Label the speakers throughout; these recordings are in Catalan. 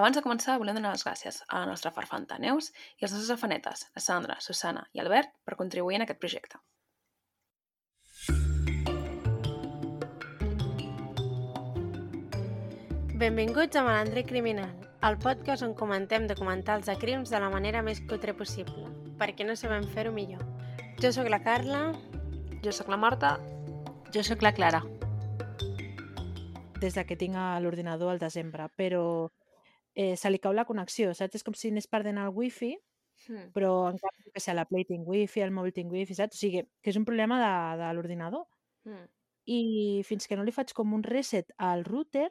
Speaker 1: Abans de començar, volem donar les gràcies a la nostra farfanta Neus i als nostres afanetes, la Sandra, Susana i Albert, per contribuir en aquest projecte.
Speaker 2: Benvinguts a Malandre Criminal, el podcast on comentem documentals de crims de la manera més cutre possible, perquè no sabem fer-ho millor. Jo sóc la Carla,
Speaker 1: Jo sóc la Marta.
Speaker 3: Jo sóc la Clara.
Speaker 4: des de que tinc a l'ordinador al desembre, però eh, se li cau la connexió, saps? És com si anés perdent el wifi,
Speaker 1: Hmm.
Speaker 4: però en canvi, que sé, la Play tinc wifi, el mòbil tinc wifi, saps? O sigui, que és un problema de, de l'ordinador.
Speaker 1: Hmm.
Speaker 4: I fins que no li faig com un reset al router,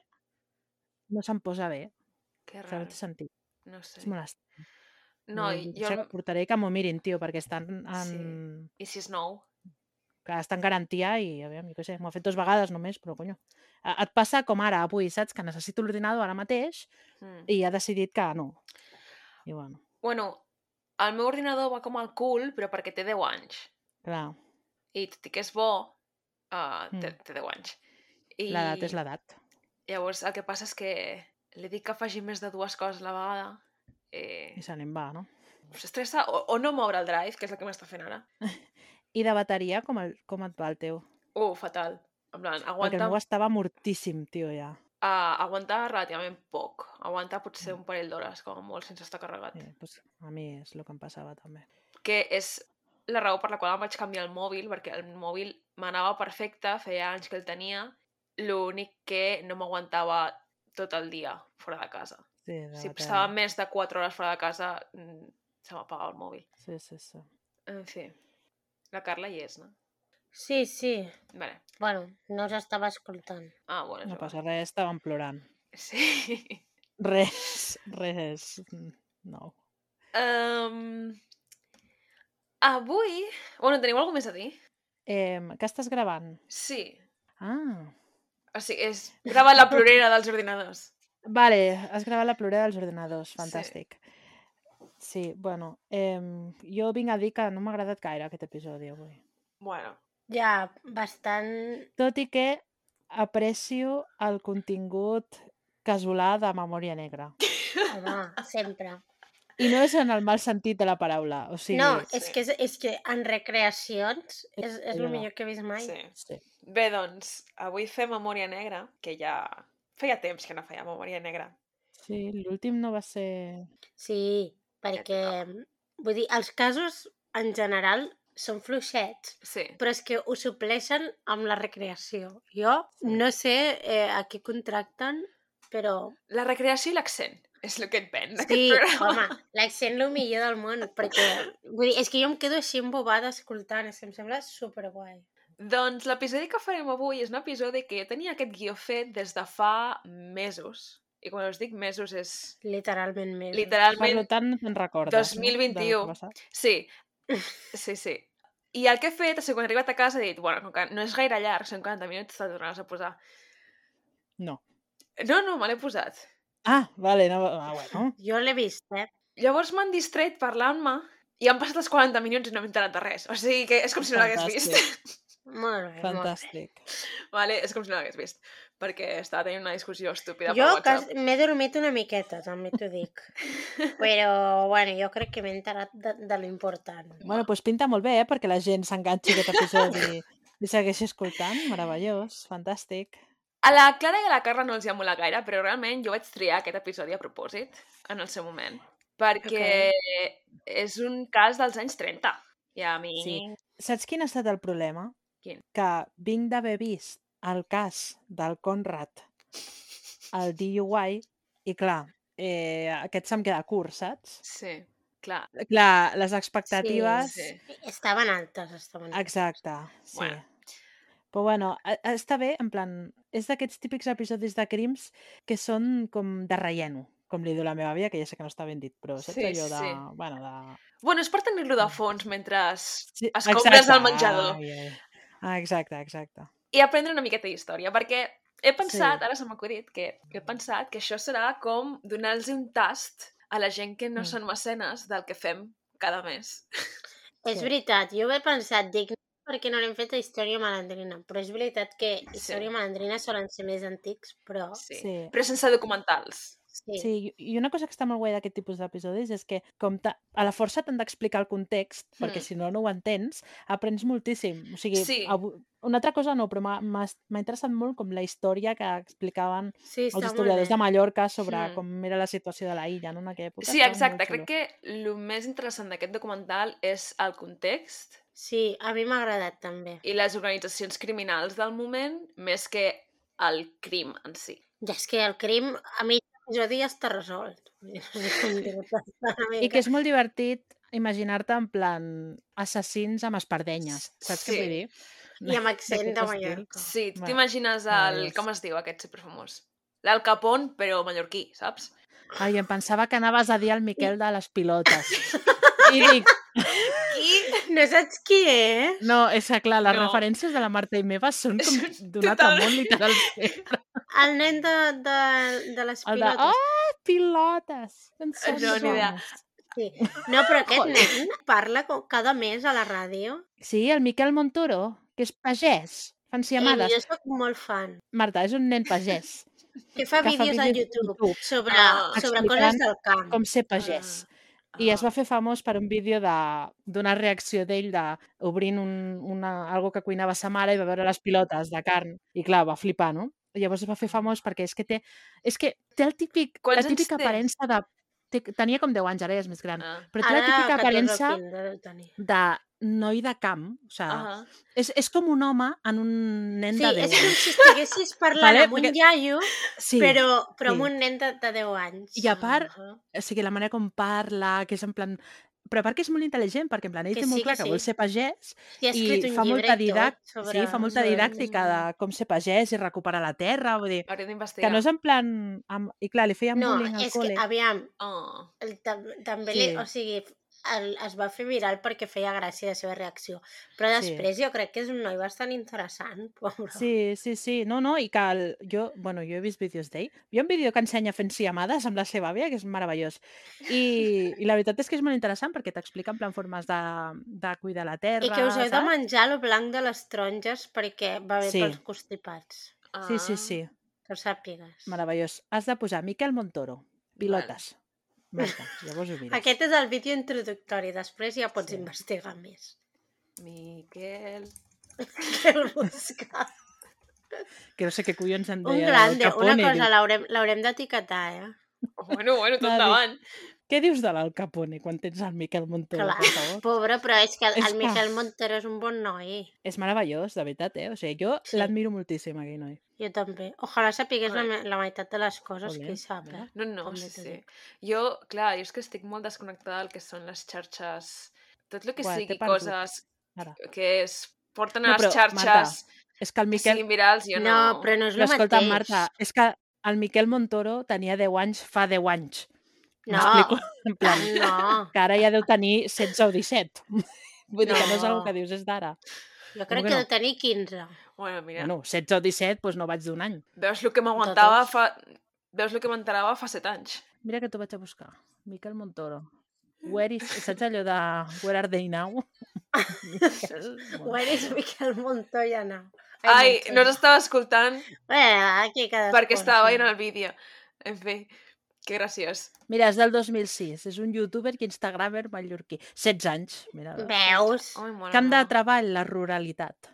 Speaker 4: no se'm posa bé.
Speaker 1: Que
Speaker 4: Però no
Speaker 1: raro.
Speaker 4: té sentit.
Speaker 1: No sé.
Speaker 4: És molest.
Speaker 1: No, i jo...
Speaker 4: jo... Portaré que m'ho mirin, tio, perquè estan en...
Speaker 1: Sí. I si és nou?
Speaker 4: que està en garantia i, aviam, jo què sé, m'ho ha fet dues vegades només, però, conyo, a- et passa com ara, avui, saps? Que necessito l'ordinador ara mateix
Speaker 1: Hmm.
Speaker 4: i ha decidit que no. I bueno,
Speaker 1: Bueno, el meu ordinador va com al cul, però perquè té 10 anys.
Speaker 4: clar,
Speaker 1: I tot i que és bo, uh, té,
Speaker 4: Mm.
Speaker 1: té 10 anys. I
Speaker 4: l'edat és l'edat.
Speaker 1: Llavors, el que passa és que li dic que faci més de dues coses a la vegada.
Speaker 4: I
Speaker 1: Eh,
Speaker 4: se n'en va, no?
Speaker 1: S'estressa o, o no moure el drive, que és el que m'està fent ara.
Speaker 4: I de bateria, com, el, com et va el teu?
Speaker 1: Uh, fatal. En plan,
Speaker 4: Perquè el
Speaker 1: aguanta,
Speaker 4: meu estava mortíssim, tio, ja.
Speaker 1: uh, aguanta relativament poc. Aguanta potser un parell d'hores, com a molt, sense estar carregat.
Speaker 4: Eh, pues, a mi és el que em passava, també.
Speaker 1: que és la raó per la qual em vaig canviar el mòbil, perquè el mòbil m'anava perfecte, feia anys que el tenia, l'únic que no m'aguantava tot el dia fora de casa.
Speaker 4: Sí, de
Speaker 1: Si
Speaker 4: bateria.
Speaker 1: estava més de 4 hores fora de casa, mm, se m'apagava el mòbil.
Speaker 4: Sí, sí, sí.
Speaker 1: En fi, la Carla hi és, no?
Speaker 2: Sí, sí.
Speaker 1: Vale.
Speaker 3: Bueno, no us estava escoltant.
Speaker 1: Ah, bueno, és
Speaker 4: No
Speaker 1: igual.
Speaker 4: passa res, estàvem plorant.
Speaker 1: Sí.
Speaker 4: Res, res. mm, No.
Speaker 1: Um, avui... Bueno, teniu alguna més a dir?
Speaker 4: Eh, que estàs gravant?
Speaker 1: Sí.
Speaker 4: Ah,
Speaker 1: O sigui, és... Grava la plorera dels ordinadors.
Speaker 4: Vale, has gravat la plorera dels ordinadors, fantàstic. Sí, bueno, em, jo vinc a dir que no m'ha agradat gaire aquest episodi avui.
Speaker 1: Bueno,
Speaker 2: Ja, bastant...
Speaker 4: Tot i que aprecio el contingut casolà de Memòria Negra.
Speaker 3: Home, sempre.
Speaker 4: I no és en el mal sentit de la paraula, o sigui...
Speaker 2: no,
Speaker 1: sí.
Speaker 2: és, que, és, és que en recreacions és, és el
Speaker 4: Sí.
Speaker 2: millor que he vist mai.
Speaker 1: sí.
Speaker 4: Sí.
Speaker 1: Bé, doncs, avui fem Memòria Negra, que ja feia temps que no feia Memòria Negra.
Speaker 4: Sí, l'últim no va ser...
Speaker 2: Sí, perquè... Vull dir, els casos en general són fluixets,
Speaker 1: Sí.
Speaker 2: però és que ho supleixen amb la recreació. Jo no sé eh, a què contracten, però
Speaker 1: La recreació i l'accent és el que et ven d'aquest
Speaker 2: sí,
Speaker 1: programa.
Speaker 2: home, l'accent el millor del món, perquè vull dir, és que jo em quedo així embobada escoltant, és que em sembla superguai.
Speaker 1: Doncs l'episodi que farem avui és un episodi que jo tenia aquest guió fet des de fa mesos. I quan us dic mesos és
Speaker 2: Literalment més.
Speaker 4: Per
Speaker 1: literalment...
Speaker 4: tant, no te'n recordes. no? Del que
Speaker 1: 2021.
Speaker 4: va passar.
Speaker 1: Sí, sí, sí. I el que he fet és que quan he arribat a casa he dit, bueno, com que no és gaire llarg, són 40 minuts, te'l tornaràs a posar.
Speaker 4: No.
Speaker 1: No, no, me l'he posat.
Speaker 4: Ah, vale, no, ah, bueno.
Speaker 2: Jo l'he vist, eh?
Speaker 1: Llavors m'han distret parlant-me i han passat els 40 minuts i no m'he enterat de res. O sigui que és com si no l'hagués vist.
Speaker 2: Molt bé, molt bé.
Speaker 4: Fantàstic.
Speaker 1: vale? És com si no l'hagués vist. Perquè estava tenint una discussió estúpida
Speaker 2: Jo
Speaker 1: per
Speaker 2: cas-
Speaker 1: WhatsApp.
Speaker 2: m'he dormit una miqueta, també t'ho dic. Però, bueno, jo crec que m'he enterat de, de l'important.
Speaker 4: Bueno, doncs pinta molt bé, eh? perquè la gent s'enganxi a aquest episodi i segueixi escoltant. Meravellós, fantàstic.
Speaker 1: A la Clara i a la Carla no els hi ha molat gaire, però realment jo vaig triar aquest episodi a propòsit en el seu moment. Perquè és un cas dels anys 30. I a mi... Sí.
Speaker 4: Sí. Saps quin ha estat el problema?
Speaker 1: Quin?
Speaker 4: Que vinc d'haver vist el cas del Conrad, el DUI, i clar, eh, aquest se'm queda curt, saps?
Speaker 1: sí, clar.
Speaker 4: Clar, les expectatives...
Speaker 1: Sí.
Speaker 2: Estaven altes, estaven altes.
Speaker 4: Exacte, sí.
Speaker 1: Bueno.
Speaker 4: Bueno. Però bueno, a- a- està bé, en plan, és d'aquests típics episodis de crims que són com de relleno, com li diu la meva àvia, que ja sé que no està ben dit, però saps
Speaker 1: Sí,
Speaker 4: sí, allò de...
Speaker 1: sí.
Speaker 4: Sí. Bueno, de...
Speaker 1: Bueno, és per tenir-lo
Speaker 4: Mm.
Speaker 1: de fons mentre
Speaker 4: Sí,
Speaker 1: es compres
Speaker 4: exacte,
Speaker 1: al menjador.
Speaker 4: Ai, ai. Ah, exacte, exacte.
Speaker 1: i aprendre una miqueta d'història, perquè he pensat, sí. ara se m'ha acudit, que he pensat que això serà com donar-los un tast a la gent que no
Speaker 4: Mm.
Speaker 1: mm. són mecenes del que fem cada mes.
Speaker 2: És
Speaker 4: Sí.
Speaker 2: veritat, jo ho he pensat, dic, "No, perquè no l'hem fet a Història Malandrina, però és veritat que
Speaker 1: Sí.
Speaker 2: Història Malandrina solen ser més antics, però...
Speaker 1: Sí. sí.
Speaker 4: Sí.
Speaker 1: Però sense documentals.
Speaker 5: Sí.
Speaker 4: Sí, i- i una cosa que està molt guai d'aquest tipus d'episodis és que com ta- a la força t'han d'explicar el context, perquè
Speaker 1: Mm.
Speaker 4: si no, no ho entens, aprens moltíssim. O sigui,
Speaker 1: Sí.
Speaker 4: avu- una altra cosa no, però m'ha- m'ha m'ha interessat molt com la història que explicaven
Speaker 2: Sí,
Speaker 4: els
Speaker 2: està
Speaker 4: historiadors de
Speaker 2: molt bé.
Speaker 4: Mallorca sobre
Speaker 1: Mm.
Speaker 4: com era la situació de la illa no, en aquella època.
Speaker 1: Sí,
Speaker 4: Estava molt
Speaker 1: exacte.
Speaker 4: xulo.
Speaker 1: Crec que el més interessant d'aquest documental és el context
Speaker 2: Sí, a mi m'ha agradat també.
Speaker 1: i les organitzacions criminals del moment, més que el crim en si.
Speaker 5: Ja és que el crim, a mi, jo ja està resolt. No sé com dir-ho,
Speaker 2: tota
Speaker 5: una
Speaker 4: I que
Speaker 5: mica.
Speaker 4: és molt divertit imaginar-te en plan assassins amb espardenyes, saps què
Speaker 1: Sí.
Speaker 4: vull dir?
Speaker 5: I amb accent
Speaker 4: d'aquest
Speaker 5: de
Speaker 4: estil.
Speaker 5: Mallorca.
Speaker 1: Sí, tu
Speaker 4: Va,
Speaker 1: t'imagines el...
Speaker 4: meravellós.
Speaker 1: Com es diu aquest superfamós? L'Al Capón, però mallorquí, saps?
Speaker 4: Ai, em pensava que anaves a dir el Miquel de les pilotes. I dic,
Speaker 1: Qui?
Speaker 2: No saps qui és?
Speaker 4: no, és que clar, les
Speaker 1: No.
Speaker 4: referències de la Marta i meva són com
Speaker 1: Són
Speaker 4: d'un altre
Speaker 1: total-
Speaker 4: món literal.
Speaker 2: El nen de, de, de les
Speaker 4: El de,
Speaker 2: pilotes.
Speaker 4: oh, pilotes! Com són
Speaker 1: Eh, No, ni idea.
Speaker 4: bones."
Speaker 5: Sí.
Speaker 2: No, però aquest
Speaker 1: Joder.
Speaker 2: nen parla co- cada mes a la ràdio.
Speaker 4: Sí, el Miquel Montoro, que és pagès. Fan
Speaker 2: I
Speaker 4: siamades.
Speaker 2: jo sóc molt fan.
Speaker 4: Marta, és un nen pagès.
Speaker 2: Que fa
Speaker 4: Que fa
Speaker 2: vídeos a
Speaker 4: vídeos a
Speaker 2: YouTube
Speaker 4: YouTube.
Speaker 2: sobre,
Speaker 1: Ah.
Speaker 2: sobre
Speaker 4: Explicant
Speaker 2: coses del camp.
Speaker 4: Com ser pagès. I es va fer famós per un vídeo de- d'una reacció d'ell de- obrint un, una, algo que cuinava sa mare i va veure les pilotes de carn. I clar, va flipar, no? I llavors es va fer famós perquè és que té, és que té el típic,
Speaker 1: Quants
Speaker 4: la
Speaker 1: anys
Speaker 4: típica
Speaker 1: té?
Speaker 4: aparença de... Té, tenia com 10 anys, ara ja és més gran.
Speaker 1: Ah.
Speaker 4: Però té la típica aparença
Speaker 2: aparença...
Speaker 4: de noi de camp. O sigui,
Speaker 1: Ah.
Speaker 4: és, és com un home en un nen
Speaker 2: Sí,
Speaker 4: de
Speaker 2: és
Speaker 4: 10
Speaker 2: com
Speaker 4: anys.
Speaker 2: si estiguessis parlant
Speaker 4: Vale,
Speaker 2: amb un
Speaker 4: perquè-
Speaker 2: iaio,
Speaker 4: Sí.
Speaker 2: però, però amb
Speaker 4: sí.
Speaker 2: un nen de, de 10 anys.
Speaker 4: I a part,
Speaker 2: Ah.
Speaker 4: o sigui, la manera com parla, que és en plan... Però a part que és molt intel·ligent, perquè en plan, ell
Speaker 2: Que
Speaker 4: té molt
Speaker 2: sí, que
Speaker 4: clar que,
Speaker 2: sí.
Speaker 4: vol ser pagès,
Speaker 2: I ha
Speaker 4: i
Speaker 2: escrit un
Speaker 4: fa
Speaker 2: llibre i
Speaker 4: molta
Speaker 2: tot
Speaker 4: didac-
Speaker 2: sobre...
Speaker 4: sí, fa molta
Speaker 2: sobre-
Speaker 4: didàctica de com ser pagès i recuperar la terra, vull dir,
Speaker 1: Hauríem d'investigar.
Speaker 4: que no és en plan... Amb... I clar, li feien
Speaker 2: No,
Speaker 4: bullying al
Speaker 2: és que,
Speaker 4: col·le.
Speaker 2: aviam,
Speaker 1: Oh.
Speaker 2: el, tam, també sí. li,
Speaker 4: Sí.
Speaker 2: o sigui, el, es va fer viral perquè feia gràcia la seva reacció. Però
Speaker 4: Sí.
Speaker 2: després jo crec que és un noi bastant interessant, pobre.
Speaker 4: Sí, sí, sí. No, no, i que el... jo, bueno, jo he vist vídeos d'ell. Hi ha un vídeo que ensenya fent siamades amb la seva àvia, que és meravellós. I, i la veritat és que és molt interessant perquè t'explica en plan formes de, de cuidar la terra.
Speaker 2: I que us heu de
Speaker 4: saps?
Speaker 2: menjar el blanc de les taronges perquè va bé
Speaker 4: Sí.
Speaker 2: sí. pels constipats.
Speaker 1: Ah.
Speaker 4: Sí, sí, sí.
Speaker 2: Que ho sàpigues.
Speaker 4: Meravellós. Has de posar Miquel Montoro, pilotes. Marta, llavors ho mires.
Speaker 2: Aquest és el vídeo introductori, després ja pots
Speaker 4: Sí.
Speaker 2: sí. investigar més.
Speaker 1: ah, Miquel.
Speaker 2: Que el busca.
Speaker 4: Que no sé què collons em
Speaker 2: Un
Speaker 4: deia. del
Speaker 2: grande, una
Speaker 4: Capone, diu.
Speaker 2: cosa, l'haurem l'haurem d'etiquetar, eh?
Speaker 1: Bueno, bueno, tot
Speaker 4: David.
Speaker 1: davant.
Speaker 4: Què dius de l'Al Capone quan tens el Miquel Montoro,
Speaker 2: Clar.
Speaker 4: per favor?
Speaker 2: Pobre, però és que el,
Speaker 4: És
Speaker 2: el
Speaker 4: que-
Speaker 2: Miquel Montero és un bon noi.
Speaker 4: És meravellós, de veritat, eh? O sigui, jo
Speaker 2: Sí.
Speaker 4: l'admiro moltíssim, aquell noi.
Speaker 2: Jo també. Ojalà sapigués la, me- la meitat de les coses
Speaker 4: Molt bé,
Speaker 2: que hi sap,
Speaker 4: mira.
Speaker 2: eh?
Speaker 1: No, no,
Speaker 2: També
Speaker 1: sí,
Speaker 2: t'ho
Speaker 1: sí. Jo, clar, jo és que estic molt desconnectada del que són les xarxes... Tot el que
Speaker 4: Buah, t'he
Speaker 1: sigui
Speaker 4: perdut,
Speaker 1: coses
Speaker 4: ara.
Speaker 1: que es porten
Speaker 4: No,
Speaker 1: a les
Speaker 4: però,
Speaker 1: xarxes
Speaker 4: Marta, És que el
Speaker 1: que
Speaker 4: Miquel...
Speaker 1: siguin virals, jo no.
Speaker 2: No, però no és
Speaker 4: Però
Speaker 2: el
Speaker 4: escolta,
Speaker 2: mateix.
Speaker 4: Marta, és que el Miquel Montoro tenia 10 anys fa 10 anys.
Speaker 2: No.
Speaker 4: M'explico? En plan,
Speaker 2: No,
Speaker 4: que ara ja deu tenir 16 o 17. Vull dir que no és una
Speaker 2: No.
Speaker 4: que dius és d'ara.
Speaker 2: jo
Speaker 4: que
Speaker 2: crec que,
Speaker 4: no?
Speaker 2: de tenir 15.
Speaker 1: Bueno, mira,
Speaker 4: Bueno, 16 o 17, doncs no vaig d'un any.
Speaker 1: veus el que m'aguantava
Speaker 2: tots.
Speaker 1: fa... Veus el que m'enterava fa set anys.
Speaker 4: Mira que t'ho vaig a buscar. Miquel Montoro. Where is... Saps allò de Where are they now?
Speaker 2: Ho eres Miquel Montoya, no.
Speaker 1: Ai, no us
Speaker 2: Montoya.
Speaker 1: estava escoltant
Speaker 2: Bé, aquí cadascú.
Speaker 1: perquè estava veient
Speaker 2: no.
Speaker 1: el vídeo. En fi, que graciós.
Speaker 4: Mira, és del 2006. És un youtuber i instagramer mallorquí. 16 anys. Mira, doncs.
Speaker 2: Veus?
Speaker 1: Ai, mare
Speaker 4: Camp de
Speaker 1: meva.
Speaker 4: treball, la ruralitat.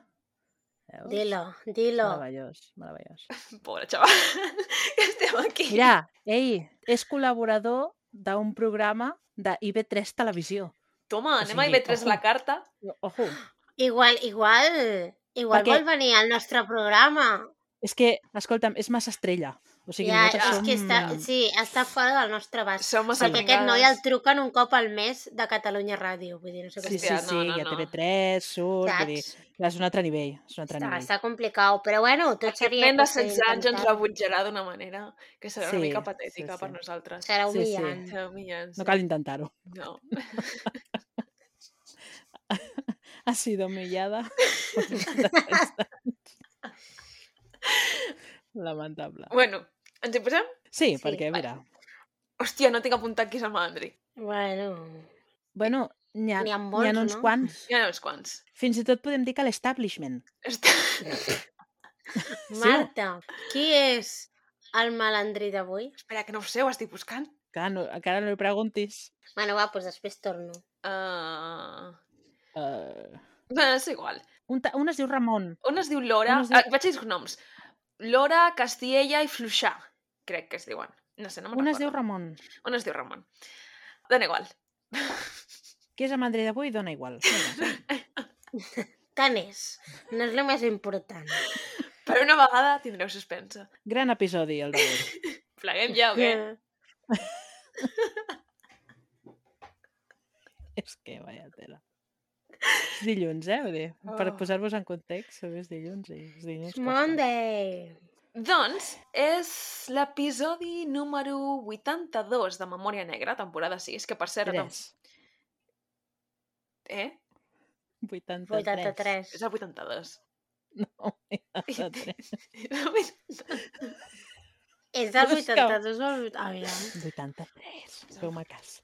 Speaker 4: Veus?
Speaker 2: Dilo, dilo.
Speaker 4: Meravellós, meravellós.
Speaker 1: Pobre xaval, que estem aquí.
Speaker 4: Mira, ei, és col·laborador d'un programa de IB3 Televisió.
Speaker 1: Toma,
Speaker 4: o
Speaker 1: anem a
Speaker 4: sigui,
Speaker 1: IB3
Speaker 4: ojo.
Speaker 1: la carta.
Speaker 4: Ojo,
Speaker 2: Igual, igual, igual
Speaker 4: Perquè-
Speaker 2: vol venir al nostre programa.
Speaker 4: és que, escolta'm, és massa estrella. O sigui,
Speaker 2: ja,
Speaker 4: nosaltres
Speaker 2: és
Speaker 4: som...
Speaker 2: que està, sí, està fora del nostre abast.
Speaker 1: Som massa
Speaker 2: Perquè aquest noi
Speaker 1: pringades.
Speaker 2: el truquen un cop al mes de Catalunya Ràdio. Vull dir, no sé
Speaker 4: Sí,
Speaker 2: què
Speaker 4: sí,
Speaker 1: Hòstia,
Speaker 4: sí,
Speaker 1: no,
Speaker 4: no,
Speaker 1: no,
Speaker 4: no, ja
Speaker 1: no.
Speaker 4: TV3 surt, vull dir,
Speaker 2: Saps?
Speaker 4: clar, és un altre nivell, és un altre
Speaker 2: Està,
Speaker 4: nivell.
Speaker 2: està complicat, però bueno, tot
Speaker 1: Aquest
Speaker 2: seria...
Speaker 1: nen de
Speaker 2: cosa
Speaker 1: 16 anys ens
Speaker 2: d'intentar.
Speaker 1: rebutjarà d'una manera que serà una
Speaker 4: Sí,
Speaker 1: mica
Speaker 4: sí,
Speaker 1: patètica
Speaker 4: sí.
Speaker 1: per nosaltres.
Speaker 2: Serà
Speaker 4: Sí, sí.
Speaker 2: humillant. Sí,
Speaker 1: Serà humillant,
Speaker 4: No
Speaker 1: sí.
Speaker 4: cal intentar-ho.
Speaker 1: No.
Speaker 4: Ha sido humillada. Lamentable.
Speaker 1: Bueno, ens hi posem?
Speaker 4: Sí,
Speaker 2: Sí,
Speaker 4: perquè,
Speaker 1: vale.
Speaker 4: mira...
Speaker 1: Hòstia, no tinc apuntat qui és el malandri.
Speaker 2: Bueno,
Speaker 4: Bueno, n'hi ha,
Speaker 2: N'hi ha
Speaker 4: n'hi
Speaker 2: molts,
Speaker 4: ha uns
Speaker 2: no?
Speaker 4: quants.
Speaker 1: Hi ha uns quants.
Speaker 4: Fins i tot podem dir que l'establishment.
Speaker 1: Està...
Speaker 4: Sí.
Speaker 2: Marta, qui és el malandrí d'avui?
Speaker 1: Espera, que no ho sé, ho estic buscant.
Speaker 4: Clar, no, encara no li preguntis.
Speaker 2: Bueno, va, doncs després torno.
Speaker 1: Uh...
Speaker 4: Uh,
Speaker 1: Bé, Eh, és igual.
Speaker 4: un, ta- un es diu Ramon.
Speaker 1: On es diu Lora?
Speaker 4: On es
Speaker 1: Es
Speaker 4: diu-
Speaker 1: diu... Ah, vaig a dir els noms. Lora, Castiella i Fluixà, crec que es diuen. No sé, no me'n
Speaker 4: Un es diu
Speaker 1: recordo.
Speaker 4: Ramon.
Speaker 1: On es diu Ramon. Dona igual.
Speaker 4: Qui és el mandrí d'avui? Dona igual. Vinga.
Speaker 2: Tant és. No és el més important.
Speaker 1: Per una vegada tindreu suspensa.
Speaker 4: Gran episodi, el d'avui.
Speaker 1: Pleguem ja, o què?
Speaker 2: Eh.
Speaker 4: és que, vaja tela. És dilluns, eh? Vull dir, per
Speaker 1: Oh.
Speaker 4: posar-vos en context, som és dilluns i els dilluns
Speaker 2: It's
Speaker 4: costen.
Speaker 2: Monday.
Speaker 1: Doncs és l'episodi número 82 de Memòria Negra, temporada 6, que per cert... No...
Speaker 4: Tres.
Speaker 1: Eh?
Speaker 4: 83.
Speaker 2: 83.
Speaker 1: És el 82.
Speaker 4: No, 83.
Speaker 1: És el 82.
Speaker 2: És del
Speaker 4: Busca.
Speaker 2: 82 o el... Aviam.
Speaker 4: 83. Feu-me cas.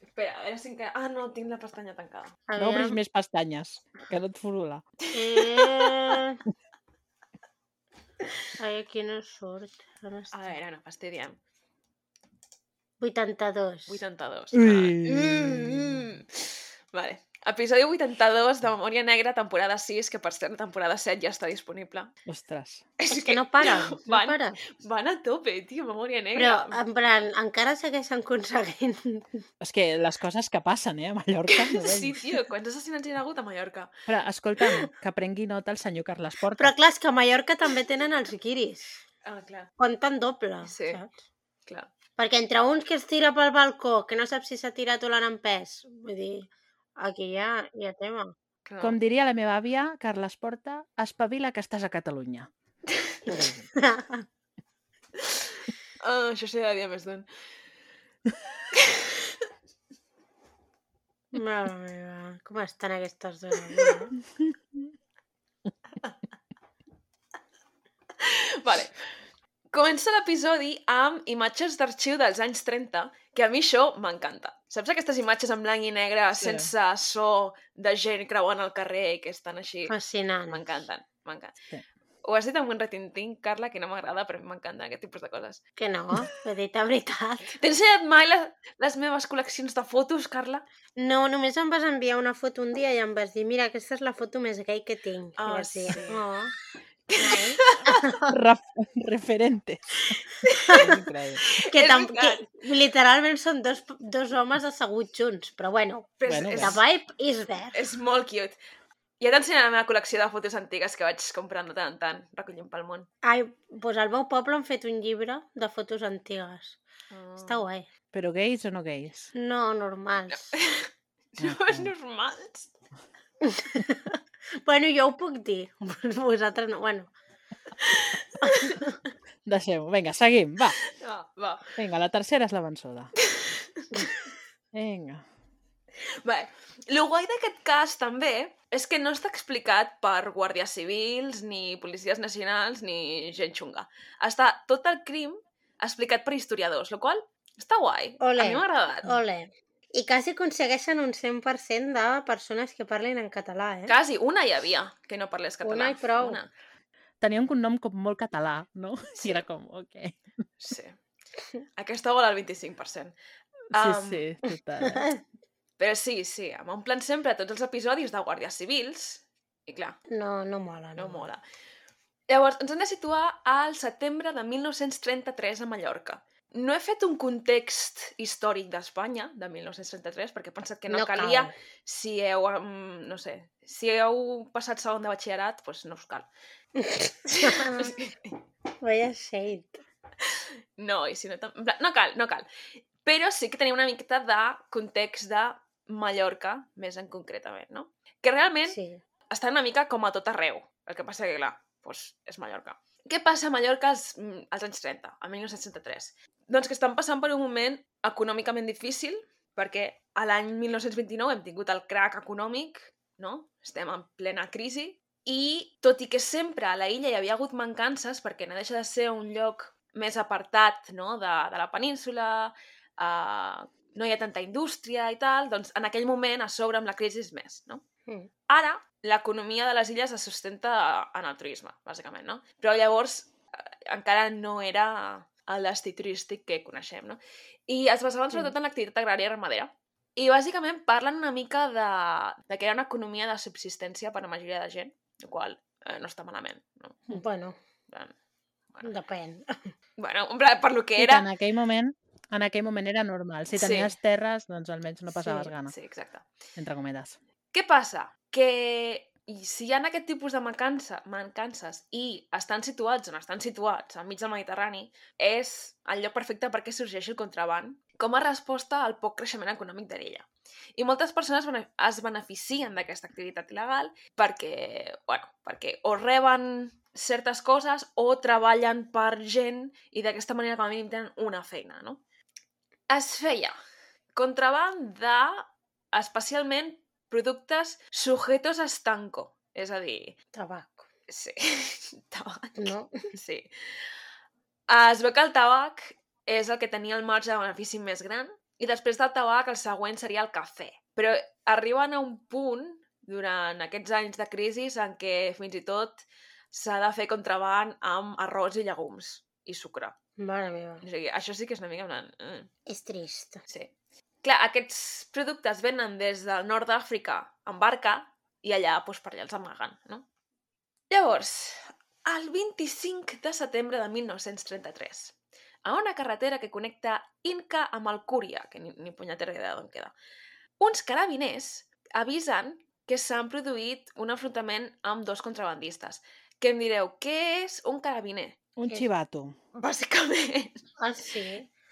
Speaker 1: Espera, a veure si encara... Ah, no, tinc la pestanya tancada.
Speaker 4: No obris
Speaker 2: aviam.
Speaker 4: més pestanyes, que no et furula.
Speaker 2: Eh... Ai, aquí no surt. On
Speaker 1: A
Speaker 2: està?
Speaker 1: veure, no, fastidiem.
Speaker 2: 82.
Speaker 1: 82. Ah.
Speaker 4: Mm.
Speaker 1: Mm. Vale. Episodi 82 de Memòria Negra, temporada 6, que per cert, la temporada 7 ja està disponible.
Speaker 4: Ostres.
Speaker 2: És que no para, no
Speaker 1: Van-
Speaker 2: para.
Speaker 1: Van a tope, tio, Memòria
Speaker 2: Però,
Speaker 1: Negra.
Speaker 2: en plan, encara segueixen aconseguint.
Speaker 4: És que les coses que passen, eh, a Mallorca. No
Speaker 1: Sí,
Speaker 4: sí.
Speaker 1: tio, quants assassinats hi ha hagut a Mallorca?
Speaker 4: Però, escolta'm, que prengui nota el senyor Carles Porta.
Speaker 2: Però clar, és que a Mallorca també tenen els guiris.
Speaker 1: Ah, clar,
Speaker 2: Compten doble,
Speaker 1: Sí.
Speaker 2: sí. saps?
Speaker 1: clar.
Speaker 2: Perquè entre uns que es tira pel balcó, que no sap si s'ha tirat o l'han empès, vull dir, aquí hi ha, hi ha tema.
Speaker 1: clar.
Speaker 4: Com diria la meva àvia, Carles Porta, espavila que estàs a Catalunya.
Speaker 1: Ah, això s'hi ha de dir a més d'un.
Speaker 2: Mare meva, com estan aquestes dones? no?
Speaker 1: Vale. Comença l'episodi amb imatges d'arxiu dels anys 30, que a mi això m'encanta. Saps aquestes imatges en blanc i negre,
Speaker 4: Sí.
Speaker 1: sense so, de gent creuant al carrer i que estan així?
Speaker 2: Fascinant.
Speaker 1: M'encanten, m'encanten.
Speaker 4: Ah, Sí.
Speaker 1: Ho has dit amb un retintín, Carla, que no m'agrada, però a mi m'encanten aquest tipus de coses.
Speaker 2: Que no, he dit la veritat.
Speaker 1: T'he ensenyat mai la, les meves col·leccions de fotos, Carla?
Speaker 2: No, només em vas enviar una foto un dia i em vas dir, mira, aquesta és la foto més gai que tinc. I
Speaker 1: Ah,
Speaker 2: vaig dir,
Speaker 1: sí.
Speaker 2: "Oh".
Speaker 4: Ref referentes. És increïble.
Speaker 2: que,
Speaker 1: És
Speaker 2: tam
Speaker 1: veritat.
Speaker 2: que literalment són dos, dos homes asseguts junts, però bueno,
Speaker 1: Però
Speaker 4: Bueno,
Speaker 1: és,
Speaker 2: the
Speaker 4: va.
Speaker 1: és,
Speaker 2: vibe is there.
Speaker 1: és molt cute. Ja t'ensenyaré la meva col·lecció de fotos antigues que vaig comprant de tant en tant, recollint pel món.
Speaker 2: Ai, doncs al meu poble han fet un llibre de fotos antigues.
Speaker 1: Oh.
Speaker 2: Està guai.
Speaker 4: Però gais o no gais?
Speaker 2: No, normals.
Speaker 1: Joves Mm. normals.
Speaker 2: Bueno, jo ho puc dir. Vosaltres no. Bueno,
Speaker 4: Deixem-ho. Vinga, seguim, va.
Speaker 1: Va, va.
Speaker 4: Vinga, la tercera és la vençuda. Vinga.
Speaker 1: Bé, el guai d'aquest cas també és que no està explicat per guàrdies civils, ni policies nacionals, ni gent xunga. Està tot el crim explicat per historiadors, el qual està guai.
Speaker 2: Ole.
Speaker 1: A mi m'ha agradat.
Speaker 2: ole. I quasi aconsegueixen un 100% de persones que parlin en català, eh?
Speaker 1: Quasi, una hi havia que no parlés català.
Speaker 2: Una i prou.
Speaker 1: Una.
Speaker 4: Tenia un cognom com molt català, no? I era com, ok.
Speaker 1: Sí. Aquesta vol el 25%.
Speaker 4: Sí,
Speaker 1: Am,
Speaker 4: sí, total.
Speaker 1: Però sí, sí, amb un plan sempre a tots els episodis de guàrdies civils, i clar,
Speaker 2: No, no mola.
Speaker 1: Ah, no mola. Llavors, ens hem de situar al setembre de 1933 a Mallorca. No he fet un context històric d'Espanya, de 1933, perquè he pensat que no, calia.
Speaker 2: cal.
Speaker 1: Si heu, mm, no sé, si heu passat segon de batxillerat, doncs no us cal. Ah.
Speaker 2: Vaya shade.
Speaker 1: No, i si no... tam- en plan, No cal, no cal. Però sí que tenia una miqueta de context de Mallorca, més en concretament, no? Que realment sí.
Speaker 2: Sí.
Speaker 1: està una mica com a tot arreu. El que passa que, clar, doncs és Mallorca. Què passa a Mallorca als, mm, als anys 30, al 1963? Doncs que estan passant per un moment econòmicament difícil, perquè a l'any 1929 hem tingut el crac econòmic, no? Estem en plena crisi, i tot i que sempre a la illa hi havia hagut mancances, perquè no deixa de ser un lloc més apartat no? de, de la península, eh, no hi ha tanta indústria i tal, doncs en aquell moment a sobre amb la crisi és més, no?
Speaker 2: Mm.
Speaker 1: Ara, l'economia de les illes es sustenta en el turisme, bàsicament, no? Però llavors eh, encara no era el destí turístic que coneixem, no? I es basaven
Speaker 4: Mm.
Speaker 1: sobretot en l'activitat agrària i ramadera. I bàsicament parlen una mica de, de que era una economia de subsistència per a la majoria de gent, el qual eh, no està malament, no?
Speaker 2: Bueno,
Speaker 1: En plan,
Speaker 2: depèn.
Speaker 1: Bueno, en plan, per lo que
Speaker 4: Sí,
Speaker 1: era...
Speaker 4: que en aquell moment en aquell moment era normal. Si
Speaker 1: Sí.
Speaker 4: tenies terres, doncs almenys no passaves
Speaker 2: Sí,
Speaker 4: gana,
Speaker 1: Sí, exacte.
Speaker 4: entre cometes.
Speaker 1: Què passa? Que i si hi ha aquest tipus de mancança, mancances i estan situats on estan situats, al mig del Mediterrani, és el lloc perfecte perquè sorgeix el contraban com a resposta al poc creixement econòmic de l'illa. I moltes persones bene- es beneficien d'aquesta activitat il·legal perquè, bueno, perquè o reben certes coses o treballen per gent i d'aquesta manera com a mínim tenen una feina, no? Es feia contraban de especialment productes sujetos a estanco, és a dir,
Speaker 2: Tabac.
Speaker 1: sí, tabac,
Speaker 2: No?
Speaker 1: sí. Es veu que el tabac és el que tenia el marge de benefici més gran i després del tabac el següent seria el cafè. Però arriben a un punt durant aquests anys de crisi en què fins i tot s'ha de fer contraban amb arròs i llegums i sucre.
Speaker 2: Mare meva.
Speaker 1: O sigui, això sí que és una mica... en plan, Mm.
Speaker 2: És trist.
Speaker 1: Sí. Clar, aquests productes venen des del nord d'Àfrica en barca i allà, doncs, per allà els amaguen, no? Llavors, el 25 de setembre de 1933, a una carretera que connecta Inca amb Alcúria, que ni, ni punyetera idea d'on queda, uns carabiners avisen que s'han produït un enfrontament amb dos contrabandistes. Que em direu, què és un carabiner?
Speaker 4: Un
Speaker 2: És-
Speaker 4: xivato.
Speaker 1: Bàsicament.
Speaker 2: Ah, sí?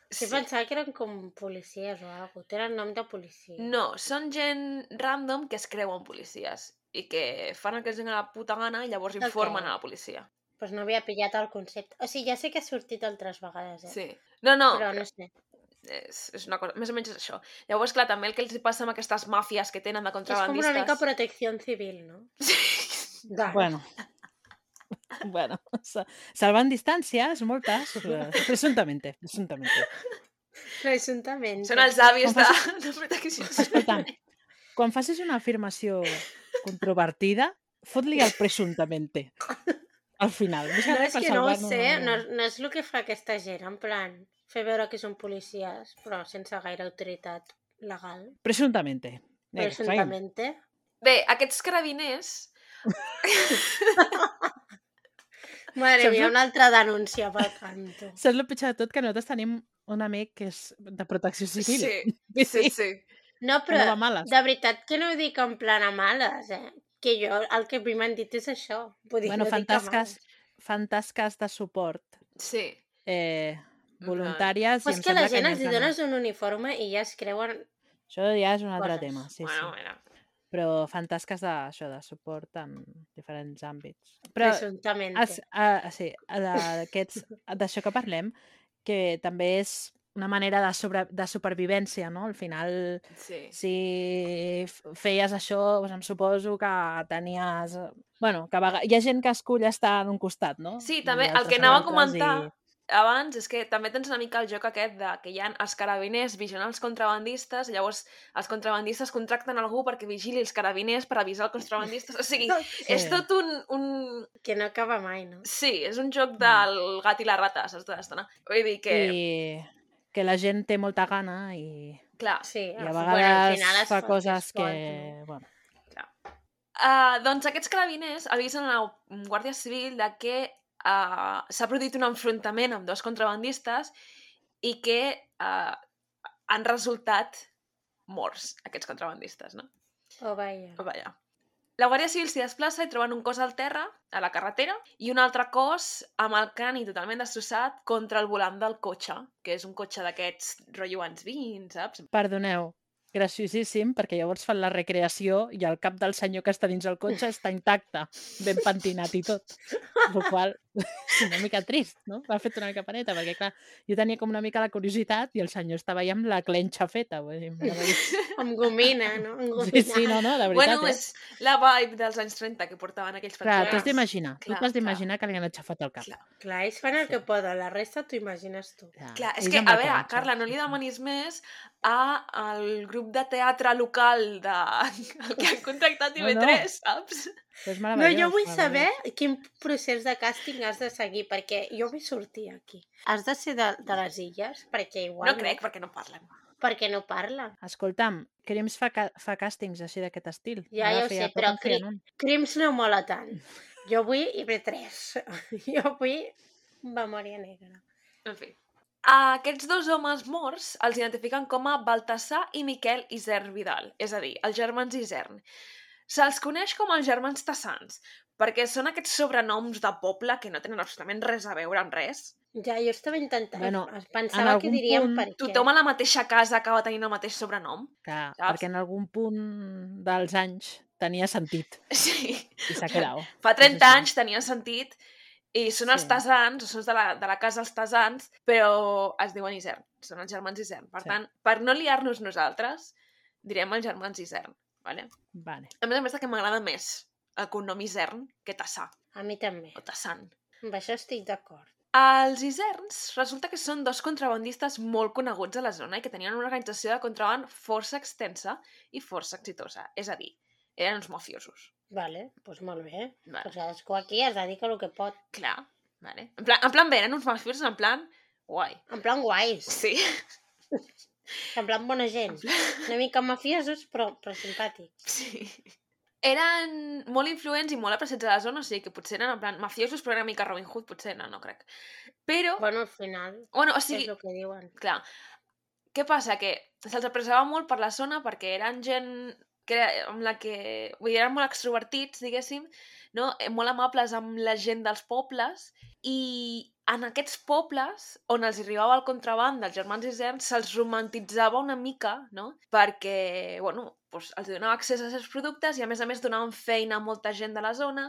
Speaker 2: Sí, pensava que eren com policies o alguna cosa. Tenen nom de policia.
Speaker 1: No, són gent random que es creuen policies i que fan el que els dona la puta gana i llavors informen a la policia.
Speaker 2: Pues no havia pillat el concepte. O sigui, ja sé que ha sortit altres vegades, eh?
Speaker 1: Sí. No, no,
Speaker 2: Però no sé.
Speaker 1: és, és una cosa... Més o menys és això. Llavors, clar, també el que els hi passa amb aquestes màfies que tenen de
Speaker 2: És com
Speaker 1: contrabandistes...
Speaker 2: una mica protecció civil, no?
Speaker 1: Sí.
Speaker 2: Doncs,
Speaker 4: Bueno. Bueno, sa- salvant distàncies, moltes, eh, però- presuntamente, presuntamente.
Speaker 2: presuntament.
Speaker 1: Són els avis
Speaker 4: Com
Speaker 1: de... de protecció.
Speaker 4: Escolta'm, quan facis una afirmació controvertida, fot-li el presuntamente al final. Més
Speaker 2: No,
Speaker 4: res
Speaker 2: és
Speaker 4: per
Speaker 2: que no ho
Speaker 4: salvar-nos
Speaker 2: sé,
Speaker 4: una-
Speaker 2: no, no és el que fa aquesta gent, en plan, fer veure que són policies, però sense gaire autoritat legal.
Speaker 4: Presuntamente. Vinga, seguim.
Speaker 2: Presuntament.
Speaker 1: Bé, aquests carabiners...
Speaker 2: Mare
Speaker 4: Saps
Speaker 2: mia,
Speaker 4: el-
Speaker 2: una altra denúncia pel canto.
Speaker 4: Saps el pitjor de tot? Que nosaltres tenim un amic que és de protecció civil.
Speaker 1: Sí, sí, sí.
Speaker 2: No,
Speaker 4: Però... No va
Speaker 2: però
Speaker 4: males.
Speaker 2: de veritat que no ho dic en plan a males, eh? Que jo, el que primer m'han dit és això. Vull dir,
Speaker 4: Bueno,
Speaker 2: no
Speaker 4: fan
Speaker 2: dic a males.
Speaker 4: tasques, fan tasques de suport
Speaker 1: Sí.
Speaker 4: eh,
Speaker 1: En plan,
Speaker 4: voluntàries.
Speaker 2: Però
Speaker 4: i
Speaker 2: és
Speaker 4: em
Speaker 2: que la
Speaker 4: sembla
Speaker 2: gent
Speaker 4: n'hi ha
Speaker 2: els hi
Speaker 4: que no.
Speaker 2: dones un uniforme i ja es creuen...
Speaker 4: Això ja és un altre
Speaker 2: coses.
Speaker 4: tema, sí,
Speaker 1: bueno,
Speaker 4: sí.
Speaker 1: bueno.
Speaker 4: Però fan tasques de, això, de suport en diferents àmbits. Però
Speaker 2: Però... Presuntament.
Speaker 4: Es, uh, sí, a la- d'aquests- d'això que parlem, que també és una manera de, sobre, de supervivència, no? Al final,
Speaker 1: Sí.
Speaker 4: si f- feies això, doncs em suposo que tenies... eh, Bueno, que a vega- hi ha gent que escull estar d'un costat, no?
Speaker 1: Sí,
Speaker 4: I
Speaker 1: també el
Speaker 4: altres
Speaker 1: que
Speaker 4: a
Speaker 1: anava a
Speaker 4: l'altres
Speaker 1: comentar abans és que també tens una mica el joc aquest de que hi ha els carabiners vigilant els contrabandistes, llavors els contrabandistes contracten algú perquè vigili els carabiners per avisar els contrabandistes. O sigui,
Speaker 4: I...
Speaker 1: és tot un, un...
Speaker 2: Que no acaba mai, no?
Speaker 1: Sí, és un joc del gat i la rata, saps? De l'estona. Vull dir que, I...
Speaker 4: I que la gent té molta gana i,
Speaker 1: clar,
Speaker 2: Sí,
Speaker 4: i
Speaker 2: al-
Speaker 4: a
Speaker 2: bueno, al
Speaker 4: vegades
Speaker 2: final es
Speaker 4: fa
Speaker 2: fa-
Speaker 4: coses
Speaker 2: es pot,
Speaker 4: que...
Speaker 2: no?
Speaker 4: Bueno,
Speaker 1: Uh, doncs aquests carabiners avisen a la Guàrdia Civil de que uh, s'ha produït un enfrontament amb dos contrabandistes i que uh, han resultat morts, aquests contrabandistes, no?
Speaker 2: Oh, vaja.
Speaker 1: Vaja. La Guàrdia Civil s'hi desplaça i troben un cos al terra, a la carretera, i un altre cos amb el crani totalment destrossat contra el volant del cotxe, que és un cotxe d'aquests rotllo anys 20, saps?
Speaker 4: perdoneu, graciosíssim, perquè llavors fan la recreació i el cap del senyor que està dins el cotxe està intacte, ben pentinat i tot. El qual és una mica trist, no? M'ha fet una mica paneta, perquè clar, jo tenia com una mica la curiositat i el senyor estava ja amb la clenxa feta. Vull dir, m'ha de dir,
Speaker 2: Amb gomina, no? Amb gomina.
Speaker 4: sí, sí, no, no, de veritat.
Speaker 1: bueno,
Speaker 4: eh?
Speaker 1: és la vibe dels anys 30 que portaven aquells
Speaker 4: Clar,
Speaker 1: pantalons.
Speaker 4: t'has d'imaginar, tu
Speaker 1: clar,
Speaker 4: t'has d'imaginar que li han aixafat el cap.
Speaker 1: Clar.
Speaker 2: Clar, ells fan el que poden, la resta t'ho imagines tu.
Speaker 4: Clar,
Speaker 1: Clar, és
Speaker 4: ells
Speaker 1: que,
Speaker 4: amb
Speaker 1: a
Speaker 4: la
Speaker 1: veure,
Speaker 4: clenxa,
Speaker 1: Carla, no
Speaker 4: sí,
Speaker 1: li
Speaker 4: sí.
Speaker 1: demanis més a al grup de teatre local de... el que han contractat
Speaker 4: No, no.
Speaker 1: TV3, saps?
Speaker 4: Però és
Speaker 2: No,
Speaker 4: meravellós.
Speaker 2: jo vull saber
Speaker 4: meravellós.
Speaker 2: quin procés de càsting has de seguir, perquè jo vull sortir aquí. Has de ser de, de les illes, perquè igual...
Speaker 1: No crec, perquè no parlen.
Speaker 2: Perquè no parla.
Speaker 4: Escolta'm, Crims fa, ca fa càstings així d'aquest estil.
Speaker 2: Ja,
Speaker 4: Ara
Speaker 2: ja ho sé,
Speaker 4: feia poc
Speaker 2: però
Speaker 4: en feien
Speaker 2: Cri-
Speaker 4: un.
Speaker 2: Crims no mola tant. Jo vull IB3. Jo vull Memòria Negra.
Speaker 1: En fi. A aquests dos homes morts els identifiquen com a Baltasar i Miquel Isern Vidal, és a dir, els germans Isern. Se'ls coneix com els germans Tassans, perquè són aquests sobrenoms de poble que no tenen absolutament res a veure amb res.
Speaker 2: Ja, jo estava intentant...
Speaker 4: Bueno,
Speaker 2: Bueno, pensava que
Speaker 4: algun
Speaker 2: diríem
Speaker 4: punt
Speaker 2: per què.
Speaker 1: Tothom a la mateixa casa acaba tenint el mateix sobrenom.
Speaker 4: Clar,
Speaker 1: Saps?
Speaker 4: perquè en algun punt dels anys tenia sentit
Speaker 1: Sí.
Speaker 4: i s'ha quedat.
Speaker 1: Fa
Speaker 4: És
Speaker 1: 30
Speaker 4: així.
Speaker 1: anys tenia sentit i són els
Speaker 4: Sí.
Speaker 1: Tassans, o són de la, de la casa els Tassans, però es diuen Isern, són els germans Isern. Per
Speaker 4: Sí.
Speaker 1: tant, per no liar-nos nosaltres, direm els germans Isern, vale?
Speaker 4: Vale.
Speaker 1: A més a més, el que m'agrada més el cognom Isern que Tassà,
Speaker 2: A mi també.
Speaker 1: o Tassan.
Speaker 2: Amb això estic d'acord.
Speaker 1: Els Iserns resulta que són dos contrabandistes molt coneguts a la zona i que tenien una organització de contraband força extensa i força exitosa. És a dir, eren uns mafiosos.
Speaker 2: Vale, doncs molt bé.
Speaker 1: Vale.
Speaker 2: Pues cadascú aquí es dedica el que pot.
Speaker 1: Clar, vale. En plan, en plan bé, eren uns mafiosos en plan guai.
Speaker 2: En plan guais,
Speaker 1: Sí,
Speaker 2: en plan bona gent. Una mica mafiosos, però, però simpàtics.
Speaker 1: sí. Eren molt influents i molt apreciats a la zona, o sigui que potser eren en plan mafiosos, però era una mica Robin Hood, potser no, no crec. Però,
Speaker 2: Bueno, al final,
Speaker 1: bueno, o
Speaker 2: sí. és
Speaker 1: sigui,
Speaker 2: el que diuen.
Speaker 1: clar, què passa? Que se'ls apreciava molt per la zona perquè eren gent que era, amb la que... Vull dir, eren molt extrovertits, diguéssim, no? Eh, molt amables amb la gent dels pobles i en aquests pobles on els arribava el contraban dels germans Isern se'ls romantitzava una mica, no? Perquè, bueno, doncs els donava accés als seus productes i a més a més donaven feina a molta gent de la zona